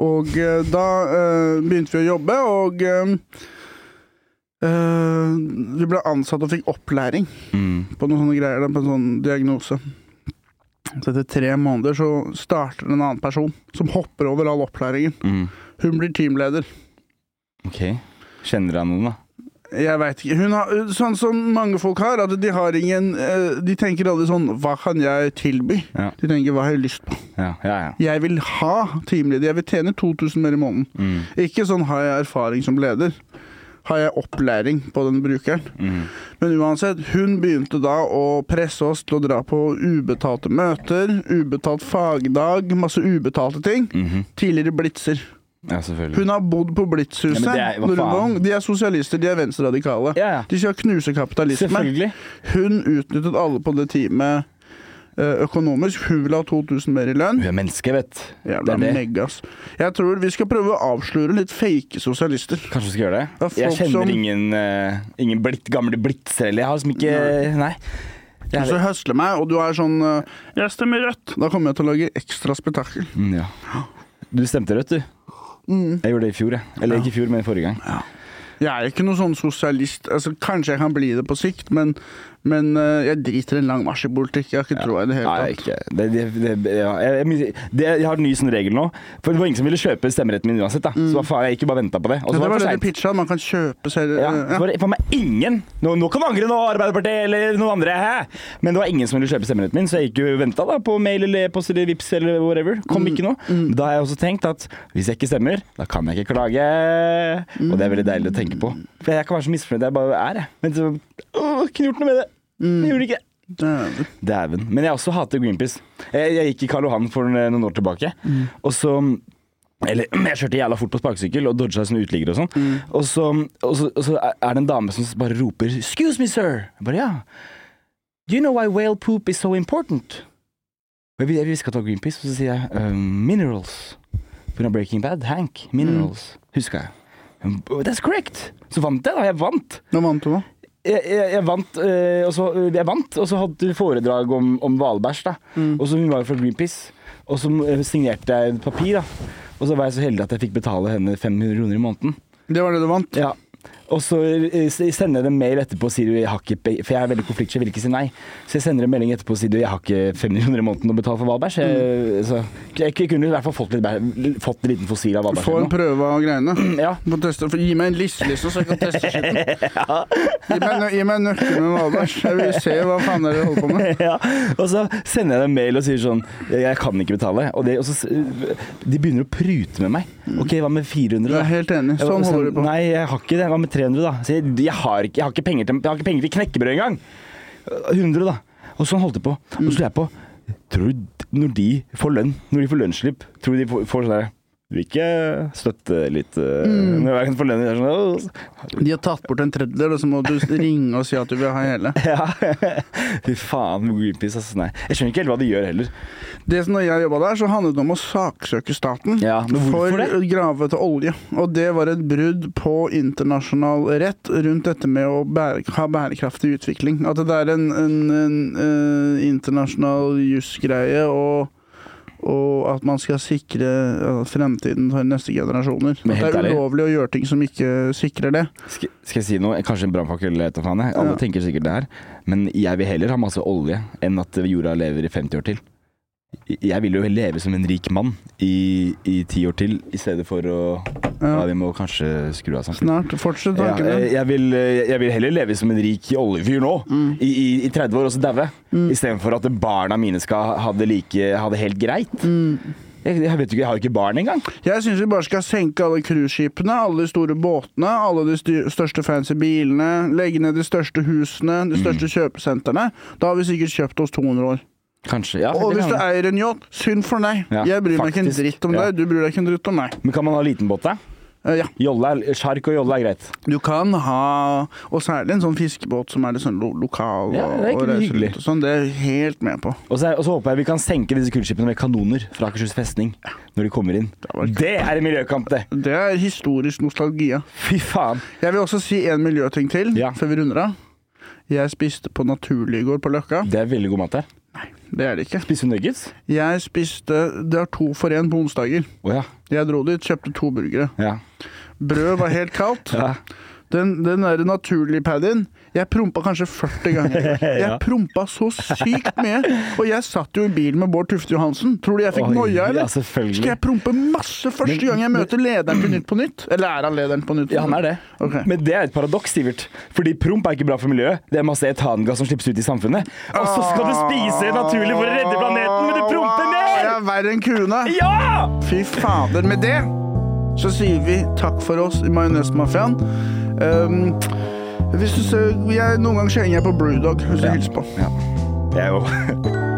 [SPEAKER 2] Og eh, da eh, begynte vi å jobbe, og eh, eh, vi ble ansatt og fikk opplæring
[SPEAKER 1] Mm.
[SPEAKER 2] på noen sånne greier, da, på en sånn diagnose. Så etter tre måneder så starter en annen person som hopper over all opplæringen.
[SPEAKER 1] Mm.
[SPEAKER 2] Hun blir teamleder.
[SPEAKER 1] Ok. Kjenner deg noen, da?
[SPEAKER 2] Jeg veit ikke. Hun har, sånn som mange folk har, at de har ingen eh, De tenker aldri sånn 'hva kan jeg tilby?'
[SPEAKER 1] Ja.
[SPEAKER 2] De tenker 'hva har jeg lyst på?'
[SPEAKER 1] Ja, ja. ja.
[SPEAKER 2] Jeg vil ha teamleder. Jeg vil tjene 2000 mer i måneden.
[SPEAKER 1] Mm.
[SPEAKER 2] Ikke sånn har jeg erfaring som leder. Har jeg opplæring på den brukeren?
[SPEAKER 1] Mm.
[SPEAKER 2] Men uansett, hun begynte da å presse oss til å dra på ubetalte møter, ubetalt fagdag, masse ubetalte ting.
[SPEAKER 1] Mhm.
[SPEAKER 2] Tidligere blitzer.
[SPEAKER 1] Ja, selvfølgelig.
[SPEAKER 2] Hun har bodd på
[SPEAKER 1] Ja,
[SPEAKER 2] Blitzhuset
[SPEAKER 1] men det er- hva
[SPEAKER 2] når hun var
[SPEAKER 1] faen?
[SPEAKER 2] ung. De er sosialister, de er venstreradikale.
[SPEAKER 1] Ja, ja.
[SPEAKER 2] De skal knuse kapitalismen.
[SPEAKER 1] Selvfølgelig.
[SPEAKER 2] Hun utnyttet alle på det teamet eh, økonomisk. Hun vil ha 2000 mer i lønn.
[SPEAKER 1] Hun er menneske, vet
[SPEAKER 2] Jævla
[SPEAKER 1] Det er det.
[SPEAKER 2] megas. Jeg tror vi skal prøve å avsløre litt fake sosialister.
[SPEAKER 1] Kanskje vi skal gjøre
[SPEAKER 2] Ja,
[SPEAKER 1] det?
[SPEAKER 2] folk
[SPEAKER 1] Jeg kjenner
[SPEAKER 2] som-
[SPEAKER 1] ingen, eh, ingen blitt, gamle blitser heller. Jeg har liksom ikke Nei. Jeg
[SPEAKER 2] Hvis du
[SPEAKER 1] er...
[SPEAKER 2] høsler meg, og du er sånn eh, 'Jeg stemmer rødt', da kommer jeg til å lage ekstra spetakkel.
[SPEAKER 1] Mm, ja. Du stemte rødt, du. Jeg gjorde det i fjor, jeg. Eller ikke i fjor, men forrige gang.
[SPEAKER 2] Jeg er ikke noen sånn sosialist. Altså, kanskje jeg kan bli det på sikt, men, men eh, jeg driter i en lang marsj i politikk. Jeg har ikke troa i det hele
[SPEAKER 1] Nei,
[SPEAKER 2] tatt.
[SPEAKER 1] ikke. Det, det, det, ja. jeg, jeg, det, jeg har en ny sånn regel nå. For det var ingen som ville kjøpe stemmeretten min uansett. Da. Så hva faen, jeg gikk jo bare og venta på det. Og
[SPEAKER 2] Ja,
[SPEAKER 1] så
[SPEAKER 2] det
[SPEAKER 1] var
[SPEAKER 2] var
[SPEAKER 1] det
[SPEAKER 2] det
[SPEAKER 1] for
[SPEAKER 2] de
[SPEAKER 1] seint.
[SPEAKER 2] pitcha. Man kan kjøpe selv
[SPEAKER 1] Ja,
[SPEAKER 2] eh,
[SPEAKER 1] så
[SPEAKER 2] ja.
[SPEAKER 1] var det faen meg ingen nå, nå kan du angre nå, Arbeiderpartiet eller noen andre! Hæ? Men det var ingen som ville kjøpe stemmeretten min, så jeg gikk jo og venta da, på mail eller e-post eller Vipps eller whatever. Kom ikke noe. Da har jeg også tenkt at hvis jeg ikke stemmer, da kan jeg ikke klage. Og det er veldig deilig å tenke på. For jeg kan være så misfornøyd jeg bare er, jeg. Men så Åh, kunne gjort noe med det. Jeg gjorde det ikke.
[SPEAKER 2] Dæven.
[SPEAKER 1] Dæven. Men jeg også hater Greenpeace. Jeg, jeg gikk i Karl Johan for eh, noen år tilbake, og så eller, jeg kjørte jævla fort på sparkesykkel og dodga sånne uteliggere og sånn. Og, så, og, så, og så er det en dame som bare roper 'Excuse me, sir'. Jeg bare ja. Do you know why whale poop is so important? Og Jeg, jeg hvisker at det var Greenpeace, og så sier jeg «Eh, 'Minerals'. Pga. Breaking Bad. Hank. Minerals. Huska jeg. Hun, «Oh, That's correct! Så vant jeg, da. Jeg vant
[SPEAKER 2] Nå vant du, da.
[SPEAKER 1] jeg, jeg, jeg, vant, eh, og så, jeg vant, og så hadde du foredrag om, om hvalbæsj. da. Og så Hun var jo fra Greenpeace, og så eh, signerte jeg et papir. da. Og så var jeg så heldig at jeg fikk betale henne 500 kroner i måneden.
[SPEAKER 2] Det var det du vant.
[SPEAKER 1] Ja. Og så eh, s- sender jeg en mail etterpå og sier jo, jeg har ikke pe- For jeg er veldig konfliktsky, jeg vil ikke si nei. Så jeg sender en melding etterpå og sier jo, jeg har ikke 500 kroner i måneden å betale for hvalbæsj. Jeg, så jeg, jeg kunne i hvert fall fått, litt, bæ- fått en liten fossil av hvalbæsj.
[SPEAKER 2] Få
[SPEAKER 1] eller
[SPEAKER 2] en
[SPEAKER 1] noe.
[SPEAKER 2] prøve av greiene.
[SPEAKER 1] Ja.
[SPEAKER 2] Få teste, for gi meg en liste, liksom, så jeg kan teste skitten. Gi meg, nø- gi meg en nøkkel med Valbergs. Jeg vil se hva faen dere holder på med.
[SPEAKER 1] ja. Og så sender jeg dem mail og sier sånn Jeg kan ikke betale. Og, det, og så, s- de begynner å prute med meg. Ok, hva med 400?
[SPEAKER 2] Jeg
[SPEAKER 1] da?
[SPEAKER 2] er helt enig.
[SPEAKER 1] Jeg var
[SPEAKER 2] Sånn holder
[SPEAKER 1] sånn,
[SPEAKER 2] du på.
[SPEAKER 1] Nei, jeg har ikke det. Hva med 300, da? Så jeg, jeg, har ikke, jeg, har ikke penger til, jeg har ikke penger til knekkebrød engang. 100, da. Og sånn holdt det på.
[SPEAKER 2] Mm.
[SPEAKER 1] Og så slo jeg på. Tror du d- når de får lønn, når de får lønnsslipp, tror du de får, får sånn derre vil ikke støtte litt eh,
[SPEAKER 2] Mm.
[SPEAKER 1] Når jeg kan forlønne det er sånn «Åh,
[SPEAKER 2] De har tatt bort en tredjedel, og så må du ringe og si at du vil ha hele.
[SPEAKER 1] Ja. Fy faen, Greenpeace, altså. Nei. Jeg skjønner ikke helt hva de gjør heller.
[SPEAKER 2] Det som når jeg jobba der, så handlet det om å saksøke staten
[SPEAKER 1] Ja, men hvorfor
[SPEAKER 2] for
[SPEAKER 1] det?
[SPEAKER 2] gravete olje. Og det var et brudd på internasjonal rett rundt dette med å bære, ha bærekraftig utvikling. At det er en, en, en eh, internasjonal jusgreie, og, og at man skal sikre eh, fremtiden for neste generasjoner.
[SPEAKER 1] Men
[SPEAKER 2] At
[SPEAKER 1] helt
[SPEAKER 2] det er
[SPEAKER 1] ærlig.
[SPEAKER 2] ulovlig å gjøre ting som ikke sikrer det.
[SPEAKER 1] Skal, skal jeg si noe? Kanskje en brannfakkel? vet du faen jeg. Alle
[SPEAKER 2] Ja.
[SPEAKER 1] tenker sikkert det her. Men jeg vil heller ha masse olje enn at jorda lever i 50 år til. Jeg vil jo leve som en rik mann i i ti år til, i stedet for å Ja,
[SPEAKER 2] Ja.
[SPEAKER 1] vi må kanskje skru av samtidig.
[SPEAKER 2] Snart. Fortsett
[SPEAKER 1] Ja,
[SPEAKER 2] tanken din.
[SPEAKER 1] eh, jeg, vil, eh, jeg vil heller leve som en rik oljefyr nå,
[SPEAKER 2] Mm.
[SPEAKER 1] i, i, i 30 år, og så daue. Istedenfor at barna mine skal ha det, like, ha det helt greit.
[SPEAKER 2] Mm.
[SPEAKER 1] Jeg, jeg vet jo ikke, jeg har jo ikke barn engang.
[SPEAKER 2] Jeg syns vi bare skal senke alle cruiseskipene, alle de store båtene, alle de styr- største fancy bilene, legge ned de største husene, de største kjøpesentrene. Da har vi sikkert kjøpt oss 200 år.
[SPEAKER 1] Kanskje, ja.
[SPEAKER 2] Og
[SPEAKER 1] det
[SPEAKER 2] hvis
[SPEAKER 1] kan
[SPEAKER 2] du
[SPEAKER 1] være.
[SPEAKER 2] eier en yacht, synd for deg.
[SPEAKER 1] Ja,
[SPEAKER 2] jeg bryr meg ikke en
[SPEAKER 1] faktisk.
[SPEAKER 2] dritt om
[SPEAKER 1] Ja.
[SPEAKER 2] deg, du bryr deg ikke en dritt om meg.
[SPEAKER 1] Men kan man ha liten båt, da?
[SPEAKER 2] Eh, ja.
[SPEAKER 1] Jolle er, sjark og jolle er greit.
[SPEAKER 2] Du kan ha Og særlig en sånn fiskebåt som er litt sånn lo lokal og,
[SPEAKER 1] Ja, det er ikke
[SPEAKER 2] og reiser
[SPEAKER 1] hyggelig.
[SPEAKER 2] rundt og sånn. Det er jeg helt med på.
[SPEAKER 1] Og så, og så håper jeg vi kan senke disse kullskipene med kanoner fra Akershus festning når de kommer inn. Det er en miljøkamp, det!
[SPEAKER 2] Det er historisk nostalgi. ja.
[SPEAKER 1] Fy faen.
[SPEAKER 2] Jeg vil også si en miljøting til
[SPEAKER 1] Ja.
[SPEAKER 2] før vi runder av. Jeg spiste på Naturlig i går på Løkka.
[SPEAKER 1] Det er veldig god mat der.
[SPEAKER 2] Det er det ikke.
[SPEAKER 1] Spiser du nuggets?
[SPEAKER 2] Jeg spiste Det er to for én på onsdager.
[SPEAKER 1] Å ja.
[SPEAKER 2] Jeg dro dit, kjøpte to burgere.
[SPEAKER 1] ja.
[SPEAKER 2] Brød var helt kaldt.
[SPEAKER 1] Ja.
[SPEAKER 2] Den, den der naturlige paddien Jeg prompa kanskje 40 ganger. Jeg prompa så sykt mye. Og jeg satt jo i bilen med Bård Tufte Johansen. Tror du jeg fikk
[SPEAKER 1] Oi,
[SPEAKER 2] noia,
[SPEAKER 1] ja,
[SPEAKER 2] eller?
[SPEAKER 1] selvfølgelig.
[SPEAKER 2] Skal jeg prompe masse første gang jeg møter lederen til Nytt på Nytt? Eller er han lederen på Nytt? på
[SPEAKER 1] Ja, han
[SPEAKER 2] Nytt?
[SPEAKER 1] er det.
[SPEAKER 2] Ok.
[SPEAKER 1] Men det er et paradoks, Sivert. Fordi promp er ikke bra for miljøet. Det er masse etangass som slippes ut i samfunnet. Og så skal du spise naturlig for å redde planeten, men du promper
[SPEAKER 2] Jeg
[SPEAKER 1] mer!
[SPEAKER 2] er verre enn
[SPEAKER 1] Ah,
[SPEAKER 2] kuene.
[SPEAKER 1] Ja!
[SPEAKER 2] Fy fader. Med det så sier vi takk for oss i Majonesmafiaen. Um, hvis du ser, jeg, noen ganger kjenner jeg på Brewdog, hvis du hilser på.
[SPEAKER 1] Jeg òg.